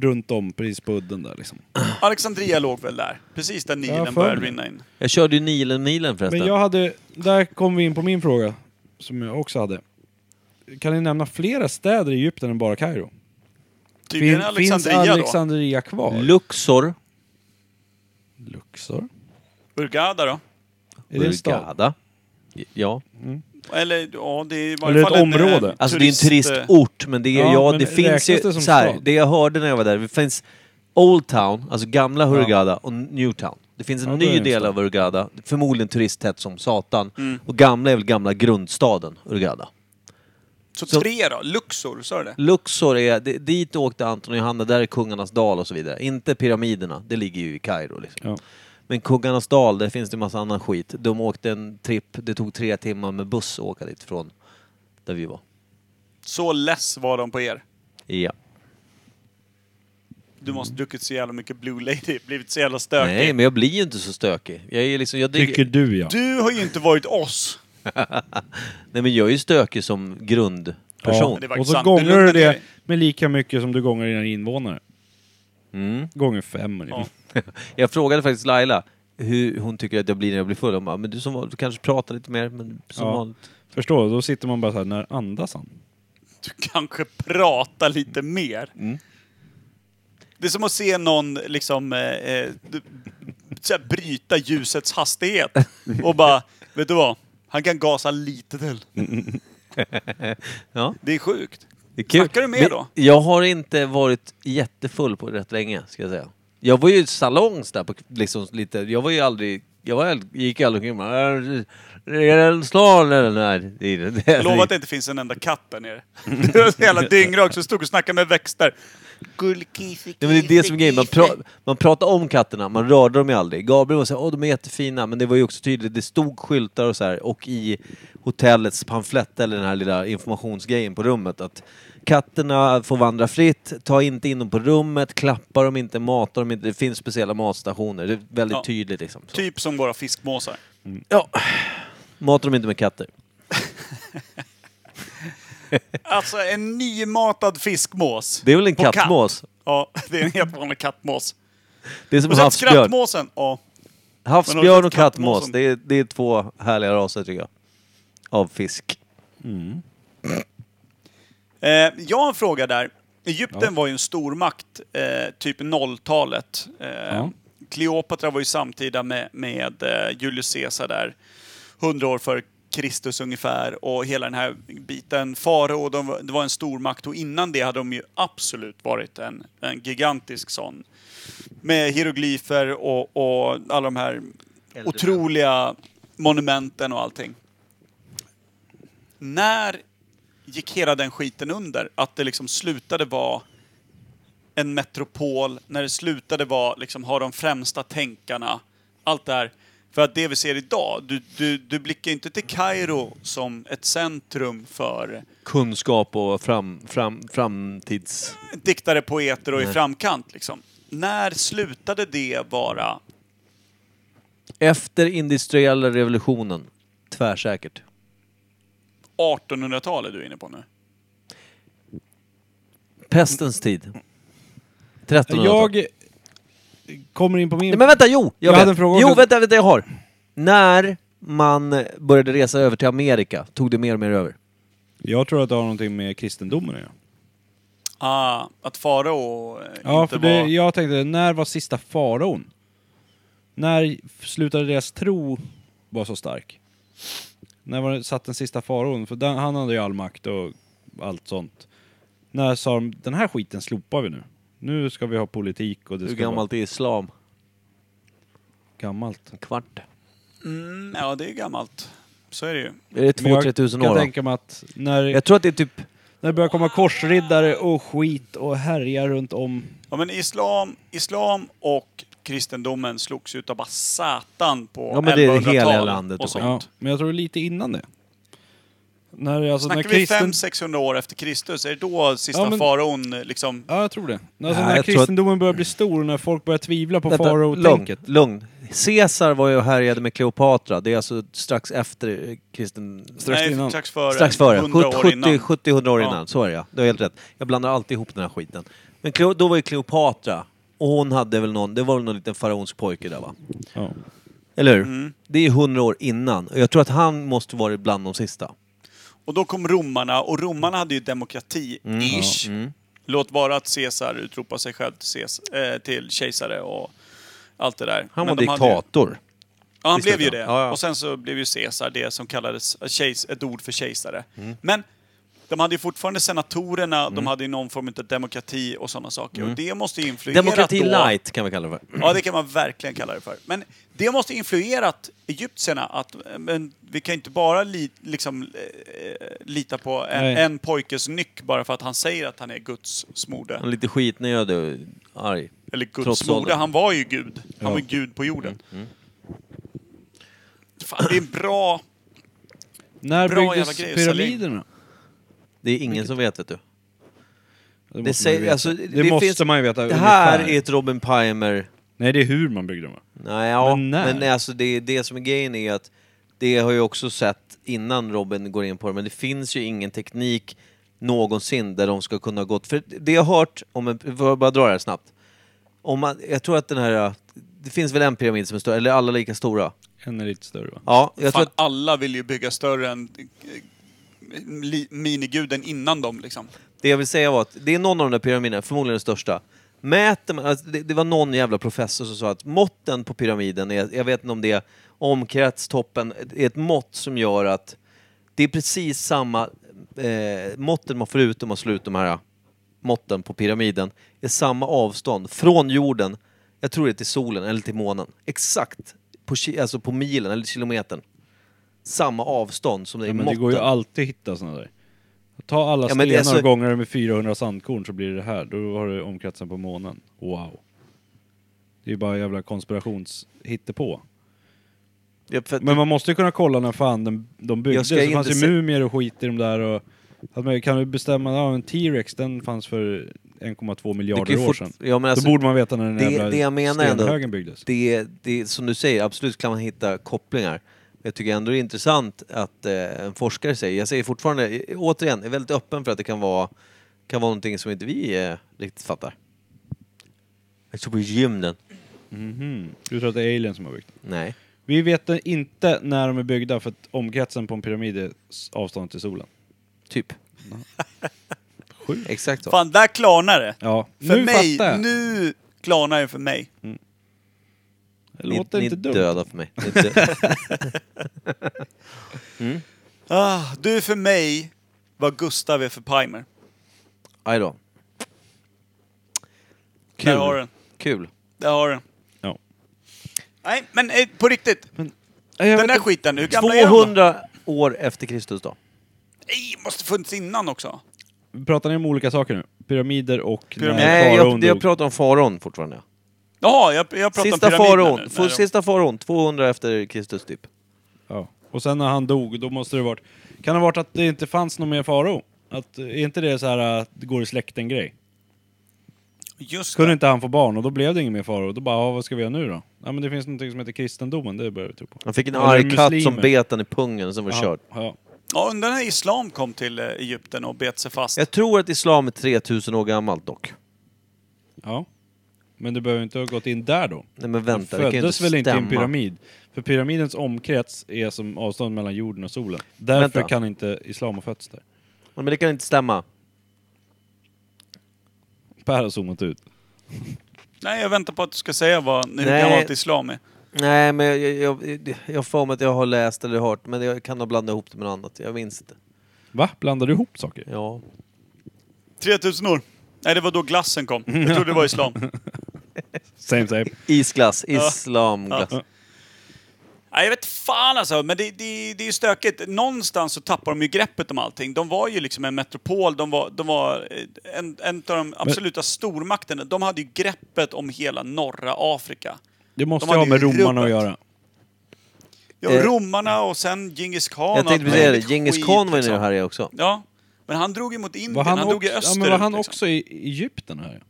runt om, precis på udden där liksom. Alexandria låg väl där? Precis där Ja, Nilen för började mig. rinna in. Jag körde ju Nilen-milen förresten. Men jag hade, där kom vi in på min fråga, som jag också hade. Kan ni nämna flera städer i Egypten än bara Kairo? Tydligen Fin- Alexandria finns då. Alexandria kvar? Luxor, Luxor? Hurghada då? Är det en stad? Hurghada. Ja. Eller ja, det är i varje Eller ett fall en, eh, område. Alltså det är en turist, eh, turistort, men det, är, Ja, ja, men det finns räknas ju... det som så här, stad? det jag hörde när jag var där, det finns Old Town, alltså gamla Hurghada, och New Town. Det finns en Ja, då är det ny en del stad. av Hurghada, förmodligen turisttätt som satan. Och gamla är väl gamla grundstaden Hurghada. Så, Så- tre då? Luxor, sa du det? Luxor är, det, dit åkte Anton och Johanna, där är Kungarnas dal och så vidare. Inte pyramiderna, det ligger ju i Kairo liksom. Ja. Men Kungarnas dal, där finns det massa annan skit. De åkte en tripp, det tog tre timmar med buss att åka dit från där vi var. Så less var de på er. Ja. Du måste ha druckit så jävla mycket Blue Lady, blivit så jävla stökig. Nej, men jag blir ju inte så stökig. Jag är liksom, jag dricker... Tycker du ja. Du har ju inte varit oss. Nej men jag är ju stökig som grundperson. det är Ja. faktiskt Och så sant. gånger Det lugnar du dig. det med lika mycket som du gånger dina invånare. Mm. Gånger fem ungefär. Jag frågade faktiskt Laila hur hon tycker att jag blir när jag blir full. Hon bara, men du som vanligt, du kanske pratar lite mer, men som Ja. vanligt. Förstår du? Då sitter man bara så här, när andas han? Du kanske pratar lite Mm. mer. Det är som att se någon liksom eh, eh, d- så här, bryta ljusets hastighet och bara, vet du vad? Han kan gasa lite till. Ja, Det är sjukt. det är kul. Snackar du mer Men då? Jag har inte varit jättefull på rätt länge, ska jag säga. Jag var ju i salongs där, på, liksom lite. Jag var ju aldrig... Jag var, ald- gick ju aldrig omkring och bara, "Äh, Är det en slan eller? Nej, det är det Jag lovar att det inte finns en enda katt där nere. Du var så jävla dyngrak så stod och snackade med växter. Nej, men det är det som är grejen. Man, pra- man pratar om katterna, man rörde dem ju aldrig. Gabriel var såhär, åh de är jättefina, men det var ju också tydligt, det stod skyltar och så här. och i hotellets pamflett eller den här lilla informationsgrejen på rummet att katterna får vandra fritt, ta inte in dem på rummet, klappa dem inte, mata dem inte. Det finns speciella matstationer, det är väldigt Ja. tydligt liksom. Så. Typ som våra fiskmåsar. Ja. Mata dem inte med katter. Alltså en nymatad fiskmås. Det är väl en På katt. kattmås? Ja, det är en helt vanlig kattmås. Det är som Och sen havsbjörn. skrattmåsen. Ja. Men har Havsbjörn du och sett kattmåsen? kattmås, det är, det är två härliga raser tycker jag. Av fisk. Eh, jag har en fråga där. Egypten var ju en stormakt, eh, typ 0-talet. Eh, Kleopatra var ju samtida med, med eh, Julius Caesar där, 100 år före Kristus ungefär, och hela den här biten. Farao, de, var- det var en stormakt och innan det hade de ju absolut varit en, en gigantisk sån. Med hieroglyfer och, och alla de här otroliga monumenten och allting. När gick hela den skiten under. Att det liksom slutade vara en metropol, när det slutade vara liksom ha de främsta tänkarna, allt det här. För att det vi ser idag, du, du, du blickar inte till Kairo som ett centrum för kunskap och fram, fram, framtids... diktare, poeter och i framkant liksom. När slutade det vara... Efter industriella revolutionen, tvärsäkert. 1800-talet du är inne på nu? Pestens tid. 1300 Jag kommer in på min... Nej, men vänta, jo! Jag, Jag vet. hade en fråga om Jo, det. vänta, vänta, jag har. När man började resa över till Amerika tog det mer och mer över. Jag tror att det har någonting med kristendomen att göra. Ah, att farao eh, Ja, inte för det, var... jag tänkte, när var sista faraon? När slutade deras tro vara så stark? När var det, satt den sista faraon? För den, han hade ju all makt och allt sånt. När sa de, den här skiten slopar vi nu. Nu ska vi ha politik och det Hur ska gammalt är islam? vara gammalt. En kvart? Mm, ja, det är gammalt. Så är det ju. Är det Men jag 2-3 tusen kan år? va? tänka mig att när, Jag tror att det är typ... när det börjar komma korsriddare och skit och härjar runt om. Ja, men islam, islam och kristendomen slogs ut av bara satan på Ja, men det är det heliga 1100-talet landet och och Ja, sånt. men jag tror lite innan det. När, alltså, när Snackar vi kristen... 500-600 år efter Kristus? Är det då sista Ja, men- faraon liksom... Ja, jag tror det. Alltså Ja, när jag tror kristendomen börjar bli stor och när folk börjar tvivla på Vänta, lugn, farao-tänket. lugn. Caesar var ju och härjade med Kleopatra. Det är alltså strax efter eh, kristen... strax innan. strax före. Strax före. 100 år innan. 70-100 år Ja. innan. Så är det ja. Du har helt rätt. Jag blandar alltid ihop den här skiten. Men Cleo, då var ju Kleopatra. Och hon hade väl någon, det var väl någon liten faraonsk pojke där va? Ja. Eller hur? Mm. Det är ju 100 år innan. Och jag tror att han måste vara bland de sista. Och då kom romarna, och romarna hade ju demokrati, Mm. ish. Låt vara att Caesar utropade sig själv till, Caesar, eh, till kejsare och allt det där. Han Men var de hade ju- diktator. Ja, han Visst blev ju vet det. jag. Ja, ja. eh, Mm. Och sen så blev ju Caesar det som kallades keis, ett ord för kejsare. Men De hade ju fortfarande senatorerna, de hade ju någon form av demokrati och sådana saker. Och det måste ju influerat Mm. Demokrati då- light kan vi kalla det för. Ja, det kan man verkligen kalla det för. Men det måste influerat egyptierna att eh, men vi kan inte bara li, liksom, eh, lita på en, Nej. en pojkes nyck bara för att han säger att han är Guds smorde. Och Lite skitnödig och arg. Eller Guds Trots smorde, åldern. han var ju Gud. Han Ja. var ju Gud på jorden. Mm. Fan, det är en bra... När Bra jävla byggdes grej, pyramiderna? Det är ingen som vet, vet du. Det, Det, måste man ju säger, veta. alltså, det, måste finns, man ju veta. Det här ungefär. är ett Robin Pimer... Nej, det är hur man byggde dem. va? Nej, ja, Men men, när? alltså det, är det som är grejen är att det har jag också sett innan Robin går in på det, men det finns ju ingen teknik någonsin där de ska kunna ha gått... För det jag har hört, om en, får jag bara dra det här snabbt. Om man, jag tror att den här... Det finns väl en pyramid som är större, eller alla lika stora? En är lite större va? Ja, jag tror Fan, att alla vill ju bygga större än eh, li, miniguden innan dem liksom. Det jag vill säga var att det är någon av de där pyramiderna, förmodligen den största. Mäter man, alltså det, det var någon jävla professor som sa att måtten på pyramiden, är, jag vet inte om det är omkretstoppen, är ett mått som gör att det är precis samma eh, måtten man får ut om man slår ut de här måtten på pyramiden, är samma avstånd från jorden, jag tror det är till solen eller till månen, exakt på, ki- alltså på milen eller kilometern. Samma avstånd som det är Ja, i men måtten. det går ju alltid att hitta sådana där. Ta alla Ja, men det är stenar och så- gånger dem med 400 sandkorn så blir det här. Då har du omkretsen på månen. Wow. Det är ju bara jävla konspirations på. Ja, för att Men man måste ju kunna kolla när fan den, de byggdes. ska Det inte fanns ju se- mumier och skit i de där och... Att man, kan du bestämma, ja en T-Rex den fanns för Du 1,2 kan miljarder ju år fort- sedan. ja, men alltså, Då borde man veta när den det- jävla det jag menar ändå- stenhögen byggdes. det, det, som du säger, absolut kan man hitta kopplingar. Jag tycker ändå det är intressant att eh, en forskare säger, jag säger fortfarande, eh, återigen, jag är väldigt öppen för att det kan vara, kan vara någonting som inte vi eh, riktigt fattar. Jag tror på rymden. Du tror att det är alien som har byggt den? Nej. Vi vet inte när de är byggda för att omkretsen på en pyramid är s- avstånd till solen. Typ. Sjukt. Exakt så. Fan, där klarnar det! Ja, För nu mig, fattar jag. nu klarnar det för mig. det Ni, låter ni inte är dumt. döda för mig. Ni är dö- Ah, du är för mig vad Gustav är för Pimer. Aj då. Där har du den. Kul. Där har du den. Ja. Nej, men eh, på riktigt. Jag Den vet där inte. skiten, hur gamla är de? då? 200 år efter Kristus då. Nej, måste funnits innan också. Pratar ni om olika saker nu? Pyramider och Pyramid. när Nej, jag, faraon jag dog. pratar om faraon fortfarande. Jaha, jag, jag pratar Sista om pyramiderna faraon. nu. Få- När de- Sista faraon, 200 efter Kristus typ. Ja. Och sen när han dog, då måste det varit... Kan det ha varit att det inte fanns någon mer farao? Att, är inte det så här äh, att det går i släkten-grej? Just Kunde det. inte han få barn och då blev det ingen mer farao. Då bara, ah, vad ska vi göra nu då? Ja men det finns någonting som heter kristendomen, det börjar vi tro på. Han fick en Eller arg katt som muslimer. bet han i pungen, sen var det Ja, kört. ja. Ja, undrar när islam kom till eh, Egypten och bet sig fast. Jag tror att islam är 3000 år gammalt dock. ja. Men du behöver inte ha gått in där då. Nej men vänta, det kan föddes ju inte väl stämma. inte i en pyramid? För pyramidens omkrets är som avstånd mellan jorden och solen. Därför Vänta. kan inte islam ha fötts där. Ja, Men det kan inte stämma. Per har zoomat ut. Nej, jag väntar på att du ska säga vad, hur Nej. gammalt islam är. Nej men jag, jag, jag, jag har för mig att jag har läst eller hört, men jag kan ha blandat ihop det med något annat. Jag minns inte. Va? Blandar du ihop saker? Ja. 3000 år. Nej, det var då glassen kom. Jag trodde det var islam. Same same. Isglass, islamglass. Ja. Nej, jag vet fan alltså, men det, det, det är ju stökigt. Någonstans så tappar de ju greppet om allting. De var ju liksom en metropol, de var, de var eh, en, en av de absoluta stormakterna. De hade ju greppet om hela norra Afrika. Det måste De ju ha hade med ju romarna att rubbet. göra. Ja, Eh, romarna och sen Djingis khan. och Jag tänkte allt precis säga det, möjligt Djingis skit, khan var ju liksom. nere här i också. Ja, men han drog ju mot Indien, Var han, han, drog ju också, ja, österut. men var han liksom. också i i Egypten här?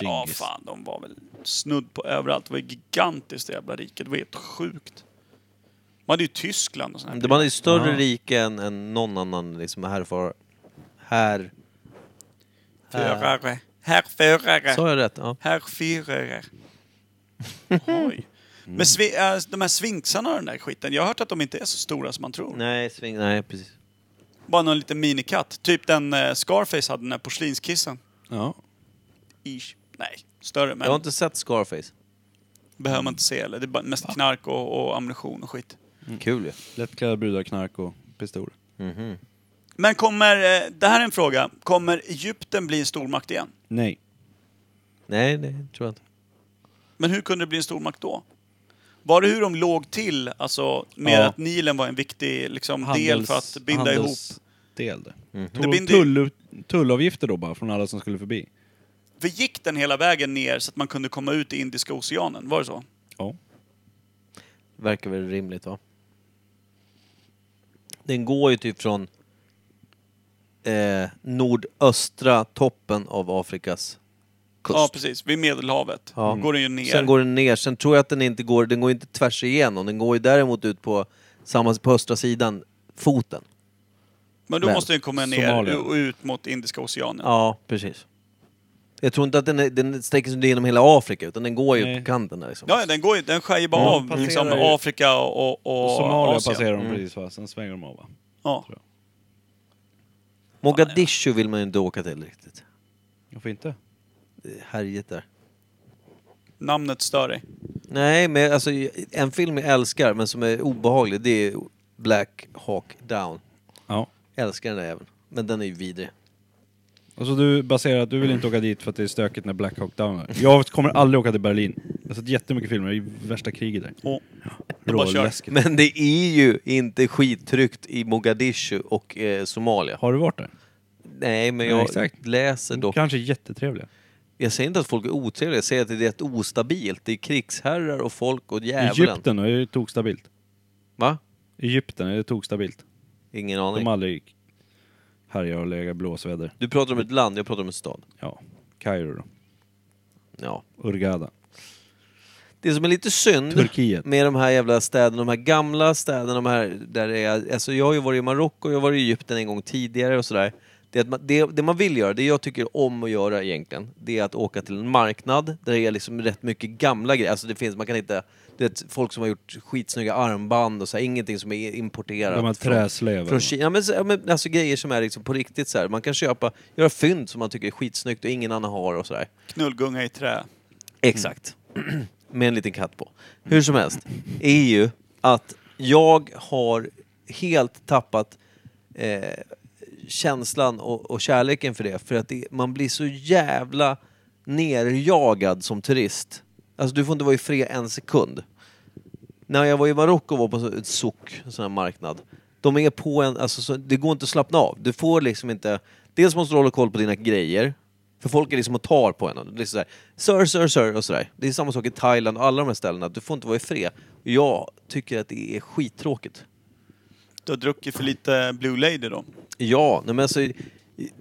Ja, Genghis. fan, de var väl snudd på överallt. Det var ju gigantiskt det jävla riket. Det var helt sjukt. Man hade ju Tyskland och sånt. Det var ju större Ja. rike än, än någon annan liksom härför... Här... här. Förare. Äh. Härförare. Sa jag rätt? Ja. Herrfyrare. Oj. Mm. Men svi, äh, de här svinksarna och den där skiten, jag har hört att de inte är så stora som man tror. Nej, sving... Nej, precis. Bara någon liten minikatt. Typ den eh, Scarface hade, den där porslinskissen. Ja. Ish. Nej, större men Jag har inte sett Scarface. behöver man inte se eller Det är bara mest knark Mm. och, och ammunition och skit. Kul ju. Lättklädda brudar, knark och pistoler. Men kommer, eh, det här är en fråga, kommer Egypten bli en stormakt igen? Nej. Nej, nej, tror jag inte. Men hur kunde det bli en stormakt då? Var det hur de låg till, alltså med Ja. att Nilen var en viktig liksom, del Handels- för att binda ihop? Mm. Del det. Det Tog de binder- tull, tullavgifter då bara från alla som skulle förbi? För gick den hela vägen ner så att man kunde komma ut i Indiska oceanen? Var det så? Ja. Verkar väl rimligt va? Den går ju typ från eh, nordöstra toppen av Afrikas kust. Ja, precis. Vid Medelhavet. Ja. Går den ju ner. Sen går den ner. Sen tror jag att den inte går, den går inte tvärs igenom. Den går ju däremot ut på, samma, på östra sidan, foten. Men då Men- måste den komma ner Somalia. och ut mot Indiska oceanen. Ja, precis. Jag tror inte att den, är, den sträcker sig genom hela Afrika, utan den går ju Nej. på kanten där liksom. Ja, ja, den, går ju, den skär ju bara Ja, av passerar liksom, ju- Afrika och, och Somalia Asien. Mm. passerar de precis va? Sen svänger de av va? Ja. tror jag. Mogadishu vill man ju inte åka till riktigt. Varför inte? Det är härjigt där. Namnet stör dig. Nej, men alltså en film jag älskar men som är obehaglig det är Black Hawk Down. Ja. Jag älskar den där även. Men den är ju vidrig. Och så Alltså, du baserar att du vill inte åka dit för att det är stökigt när Black Hawk Down är. Jag kommer aldrig åka till Berlin. Jag har sett jättemycket filmer, det är ju värsta kriget där. Och, är bara att köra. Råläskigt. Men det är ju inte skittryggt i Mogadishu och eh, Somalia. Har du varit där? Nej, men Nej, jag exakt. läser dock. Kanske jättetrevliga. Jag säger inte att folk är otrevliga, jag säger att det är rätt ostabilt. Det är krigsherrar och folk och djävulen. Egypten är ju tokstabilt. Va? Egypten är ju tokstabilt. Ingen De aning. har aldrig härjar och legat blåsväder. Du pratar om ett land, jag pratar om en stad. Ja. Kairo då. Ja. Hurghada. Det som är lite synd Turkiet. med de här jävla städerna, de här gamla städerna, de här där det är, alltså jag har ju varit i Marocko, jag har varit i Egypten en gång tidigare och sådär. Det, är att man, det, det man vill göra, det jag tycker om att göra egentligen, det är att åka till en marknad där det är liksom rätt mycket gamla grejer. Alltså det finns, man kan hitta, du vet, folk som har gjort skitsnygga armband och så här, ingenting som är importerat. De här från- träslöven. från Kina. Ja, men, så- ja, men, alltså grejer som är liksom på riktigt så här. man kan köpa, göra fynd som man tycker är skitsnyggt och ingen annan har och sådär. Knullgunga i trä. Exakt. Med en liten katt på. Hur som helst, är ju att jag har helt tappat eh, känslan och, och kärleken för det. För att det, man blir så jävla nerjagad som turist. Alltså du får inte vara i fred en sekund. När jag var i Marocko och var på så- ett sock, en sån här marknad. De är på en, alltså så, det går inte att slappna av. Du får liksom inte, dels måste du hålla koll på dina grejer. För folk är liksom och tar på en. Och det är sådär, sir, sir, sir och sådär. Det är samma sak i Thailand och alla de här ställena. Du får inte vara i fred. Jag tycker att det är skittråkigt. Du har druckit för lite Blue Lady då. Ja, nej men alltså,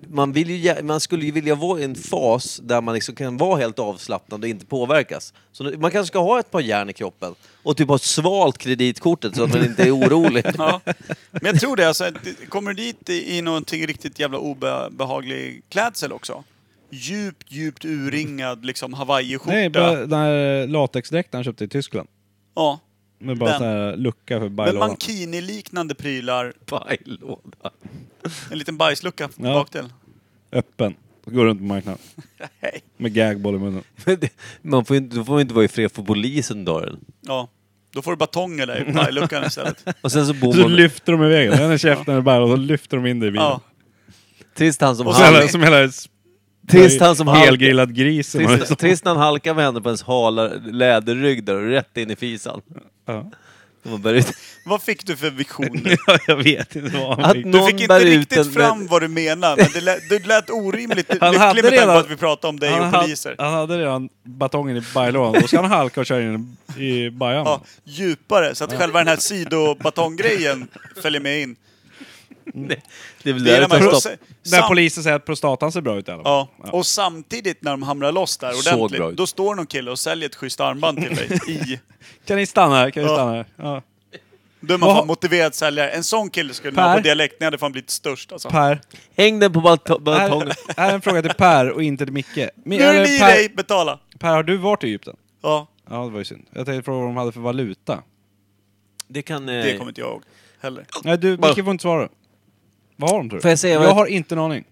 man, vill ju, gär- man skulle ju vilja vara i en fas där man liksom kan vara helt avslappnad och inte påverkas. Så nu- man kanske ska ha ett par järn i kroppen och typ ha svalt kreditkortet så att man inte är orolig. Ja. Men jag tror det. Alltså, att det- kommer du dit i i någonting riktigt jävla obehaglig klädsel också? Djupt, djupt urringad liksom Nej, bara hawaiiskjorta. den här latexdräkten han köpte i Tyskland. Ja. Med bara Den. sån här lucka för Men bajlådan. mankini-liknande prylar. Pajlåda. En liten bajslucka Ja. bak till. Öppen. Går runt på marknaden. Nej. Med gagboll i munnen. Men det- Man får ju inte, då får man inte vara i fred för polisen dör Ja. Då får du batonger där i bajsluckan istället. Och sen så bor Så man... lyfter de iväg den. Den är käften i bajlådan och så lyfter de in det i bilen. Ja. Trist han som Och så hela, halkar... som hela Trist han som halkar... helgrillad gris. som man- Trist, trist när han halkar med henne på ens hala läderrygg där och rätt in i fisan. Ja. Man bär ut- Vad fick du för vision? Ja, jag vet inte vad han Att fick. nå- Du Någon fick inte bär ut en, riktigt men- fram vad du menar, men det lät, det lät orimligt hade lycklig med tanke på redan- att vi pratade om dig och hade- poliser. han hade redan batongen i bajlådan. Då ska han halka och köra in i bajan. Ja, djupare, så att själva den här sidobatonggrejen följer med in. Det är väl Det där är när det tar man proce- stopp. När sam- polisen säger att prostatan ser bra ut i alla fall. Ja, och samtidigt när de hamrar loss där Såg bra ordentligt, ut. då står någon kille och säljer ett schysst armband till dig i... Kan ni stanna här? Kan ni Ja. stanna här? Ja. Då är man Vad- fan motiverad säljare. En sån kille skulle ni ha Per? på dialekt, ni hade fan blivit störst alltså. Per. Häng den på balto- Här, baltongen. här är en fråga till Per och inte till Micke. Men, Nu är eller, det i per, dig, betala! per, har du varit i Egypten? Ja, Ja, det var ju synd. Jag tänkte fråga vad de hade för valuta. Det kan... Eh, det kommer inte jag ihåg heller. Nej, du, Micke får inte svara. Vad har de tror du? Får jag säga vad jag jag- har inte en aning.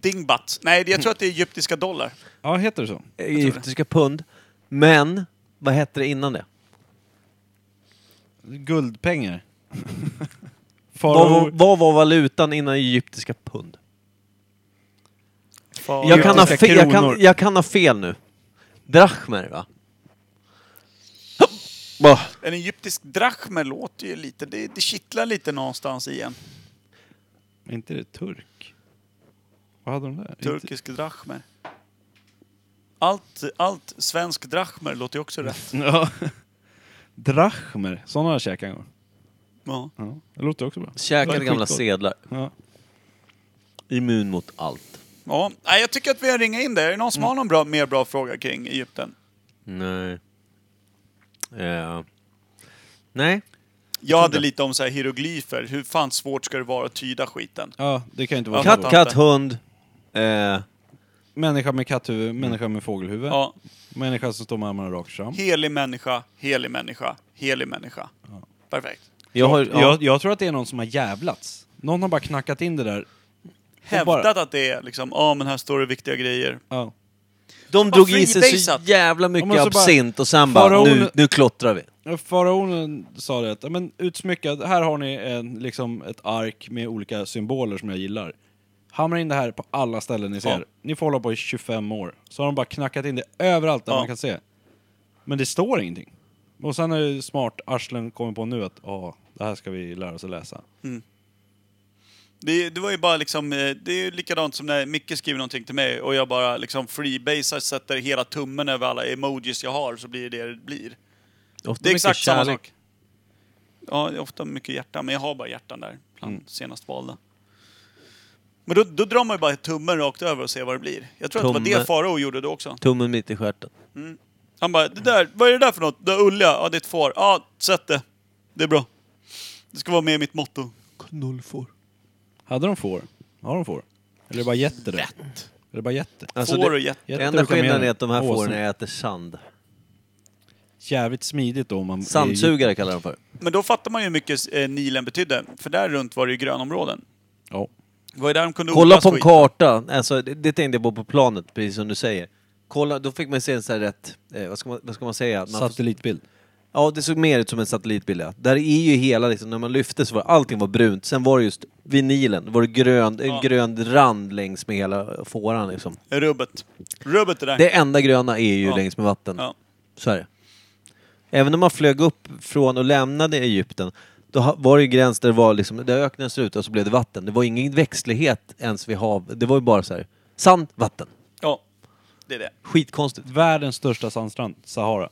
Dingbat. Nej, jag tror att det är egyptiska dollar. Ja, heter det så? eh, Egyptiska pund. Men, vad hette det innan det? Guldpengar. Vad, Farao... var- vad var valutan innan egyptiska pund? Fan. Jag kan, ha Egyptiska fe- jag, kan, kronor. jag kan ha fel nu. Drachmer, va? Bah. En egyptisk drachme låter ju lite, det, det kittlar lite någonstans i en. Är inte det turk? Vad hade de där? Inte- Turkisk drachmer. Allt, allt svensk drachmer låter ju också rätt. Ja. Drachmer, sådana har jag käkat en gång. Ja. Ja. Det låter också bra. Käkade Var det gamla skitgott? sedlar. Ja. Immun mot allt. ja. Nej, jag tycker att vi har ringat in det. Är det någon som har någon bra, mer bra fråga kring Egypten? Nej. Eh, Nej. Jag hade lite om så här hieroglyfer. Hur fan svårt ska det vara att tyda skiten? ja, det kan ju inte vara Katt- så. Katt, bra. katt, hund. Eh, Människa med katthuvud, människa med fågelhuvud. Ja. Människa som står med armarna rakt fram. Helig människa, helig människa, helig människa. Perfekt. jag har... Ja. Jag, jag tror att det är någon som har jävlats. Någon har bara knackat in det där. Hävdat att det är liksom, ja men här står det viktiga grejer. Ja. De drog Vad i sig så freebasat. jävla mycket Ja, men så bara- absint och sen bara, nu, Faraon- nu klottrar vi. Faraonen sa det att, "Ja, men utsmyckad, här har ni en, liksom ett ark med olika symboler som jag gillar. Hamra in det här på alla ställen ni ser. Ja. Ni får hålla på i 25 år. Så har de bara knackat in det överallt där Ja. man kan se. Men det står ingenting. Och sen är det smart, arslen kommer på nu att, ja, det här ska vi lära oss att läsa. Det, det var ju bara liksom, eh, det är ju likadant som när Micke skriver någonting till mig och jag bara liksom freebasar, sätter hela tummen över alla emojis jag har så blir det det det blir. Ofta Det mycket är exakt samma kärlek. sak. Ja, det är ofta mycket hjärta, men jag har bara hjärtan där, bland senast valda. Men då, då drar man ju bara tummen rakt över och ser vad det blir. Jag tror att det var Tumme. det Farao gjorde då också. Tummen mitt i stjärten. Han bara, det där, vad är det där för något? Det där ulliga? Ja, det är ett får. Ja, sätt det. Det är bra. Det ska vara med i mitt motto. Knullfår. Hade de får? Har de får? Eller är det bara getter? då? Är det bara getter? Alltså får det- och jätte. Den Jätte enda och kameler. skillnaden är att de här Åsen. fåren äter sand. Jävligt smidigt då om man... Sandsugare kallar de för. Men då fattar man ju hur mycket eh, Nilen betydde. För där runt var det ju grönområden. Ja. Det var ju där de kunde Kolla odla på en skit. karta, alltså, det, det tänkte jag på på planet, precis som du säger. Kolla, då fick man se en sån här rätt, eh, vad, ska man, vad ska man säga? Man får- Satellitbild. Ja, det såg mer ut som en satellitbild. ja. Där är ju hela, liksom, när man lyfte så var allting var brunt. Sen var det just vinilen, var det grön, en Ja. grön rand längs med hela fåran liksom. Rubbet. Rubbet det där. Det enda gröna är ju Ja. längs med vatten. Ja. Så är det. Även om man flög upp från och lämnade Egypten, då ha- var det ju gräns där, det var liksom, där öknen slutade och så blev det vatten. Det var ingen växtlighet ens vid hav. Det var ju bara så här, sand, vatten. ja. Det är det. Skitkonstigt. Världens största sandstrand, Sahara.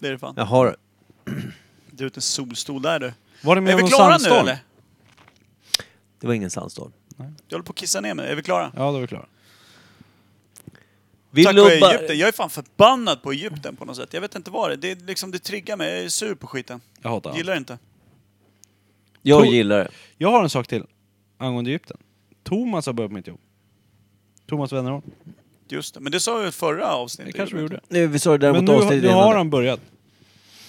Det är det fan. Jag har Du är ute en solstol där du. Var det med Är vi om klara nu sandstorm? eller? Det var ingen sandstorm. Jag håller på att kissa ner mig. Är vi klara? Ja, då är vi klara. Vi Tack vare lubbar- Egypten. Jag är fan förbannad på Egypten på något sätt. Jag vet inte vad det är. Det, är liksom, det triggar mig. Jag är sur på skiten. Jag hatar allt. Gillar inte. Jag Tor- gillar det. Jag har en sak till angående Egypten. Thomas har börjat på mitt jobb. Thomas Wennerholm. Just det. Men det sa vi i förra Det avsnittet. kanske vi gjorde. Nu, vi sa det där Men mot nu, avsnittet nu har innan. han börjat.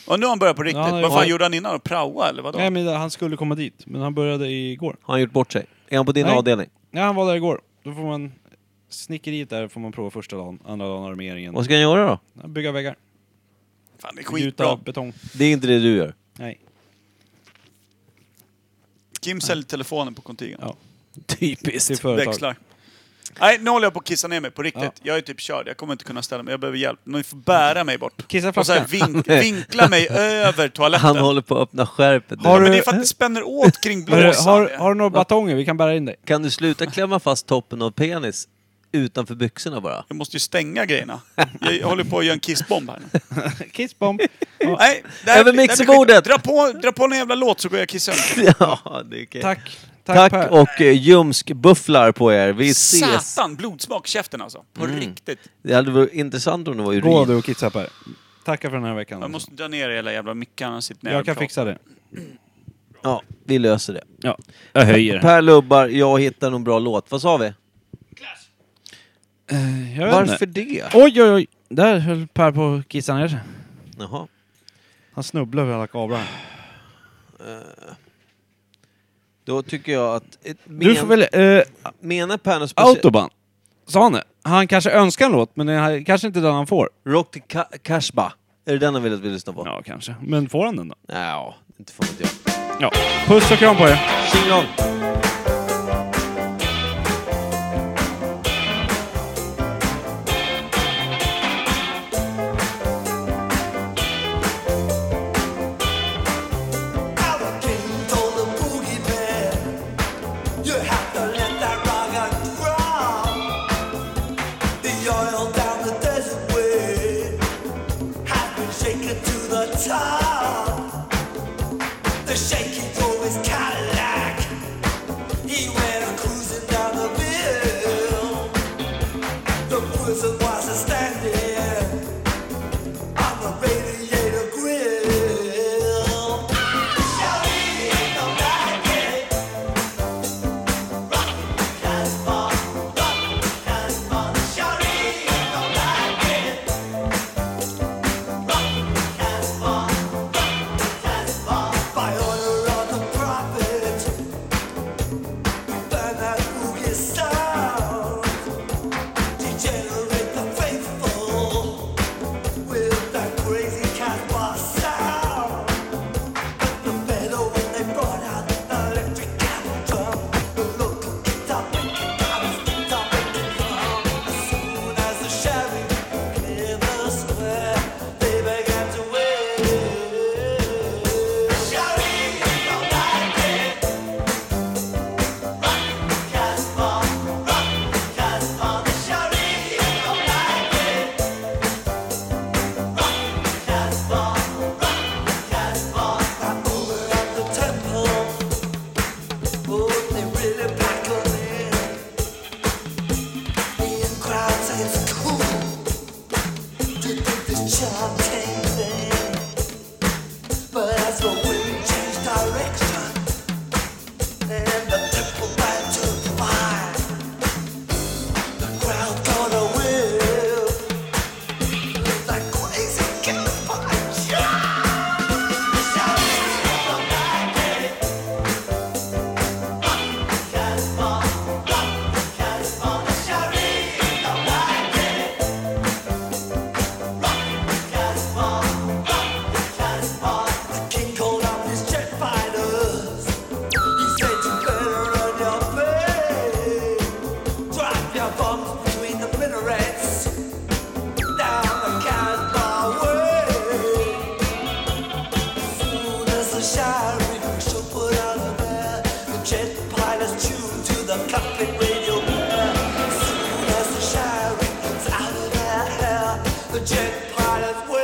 Och nu har han börjat på riktigt. Ja, han har Vad ju- fan gjorde han innan? Praoa eller vadå? Nej, men han skulle komma dit, men han började igår. Har han gjort bort sig? Är han på din Nej. avdelning? Ja, han var där igår. Då får man... Snickeriet där får man prova första dagen, andra dagen armeringen. Vad ska han göra då? Bygga väggar. Fan, det är Gjuta skitbra. betong. Det är inte det du gör. Nej. Kim säljer telefonen på kontigen. Ja. Till Typiskt. företag. Växlar. Nej, nu håller jag på att kissa ner mig på riktigt. Ja. Jag är typ körd. Jag kommer inte kunna ställa mig. Jag behöver hjälp. Ni får bära mig bort. Kissa i Och så här, vink, vinkla mig över toaletten. Han håller på att öppna skärpet. Har Men du- det är för att det spänner åt kring Har, du- blåsan. har, har du några batonger? Vi kan bära in dig. Kan du sluta klämma fast toppen av penis utanför byxorna bara? Jag måste ju stänga grejerna. Jag håller på att göra en kissbomb här. Kissbomb. Nej, det här- Över det här blir mixerbordet! skit. Dra på, dra på en jävla låt så går jag och kissar. ja, det är okej. Tack. Tack, Tack, Per. och eh, ljumskbufflar på er. Vi ses. Satan, blodsmak i käften alltså. På Mm. riktigt. Det hade varit intressant om det var Gå urin. du och kissa Per. Tackar för den här veckan. Jag måste dra ner hela jävla mickarna. Sitt ner jag och kan prata. fixa det. Ja, vi löser det. Ja. Jag höjer. Per lubbar, jag hittar någon bra låt. Vad sa vi? Varför det? Oj, oj, oj. Där höll Per på att kissa ner sig. Jaha. Han snubblade över alla kablar. Då tycker jag att... eh, Men, Du får väl... Eh, Menar Per något speciellt? Autobahn. Sa han det? Han kanske önskar en låt, men det här, kanske inte den han får. Rock till Ka- Kashba. Är det den han vill att vi lyssnar på? Ja, kanske. Men får han den då? Ja, Inte fan vet jag. Ja. Puss och kram på er! Tjingelong! Top. The shaky throw is Cadillac. He went cruising down the bill. The prison was a standing on the radiator grill. Shall we hit the racket? By order of the prophet, burn that boogie sound. Degenerate the faithful with that crazy catwalk sound. But the better when they brought out the electric cattle drum, the local guitar picking drums, guitar picking drum. As soon as the sheriff cleared the square, they began to wail. Shouting, "Don't like it." But as the wind changed direction, and the temple band to fire. The crowd gonna will. Like crazy campfire. Shouting from the gate. Casbah, Casbah, shouting from the gate. Casbah, Casbah. The king called out his jet fighters. He said you better run your face. Drop your bombs between the minarets. Down the Casbah way. Soon as the showering shall put out of air, the jet pilots tune to the cockpit radio air. Soon as the showering's out of air, the jet pilots will.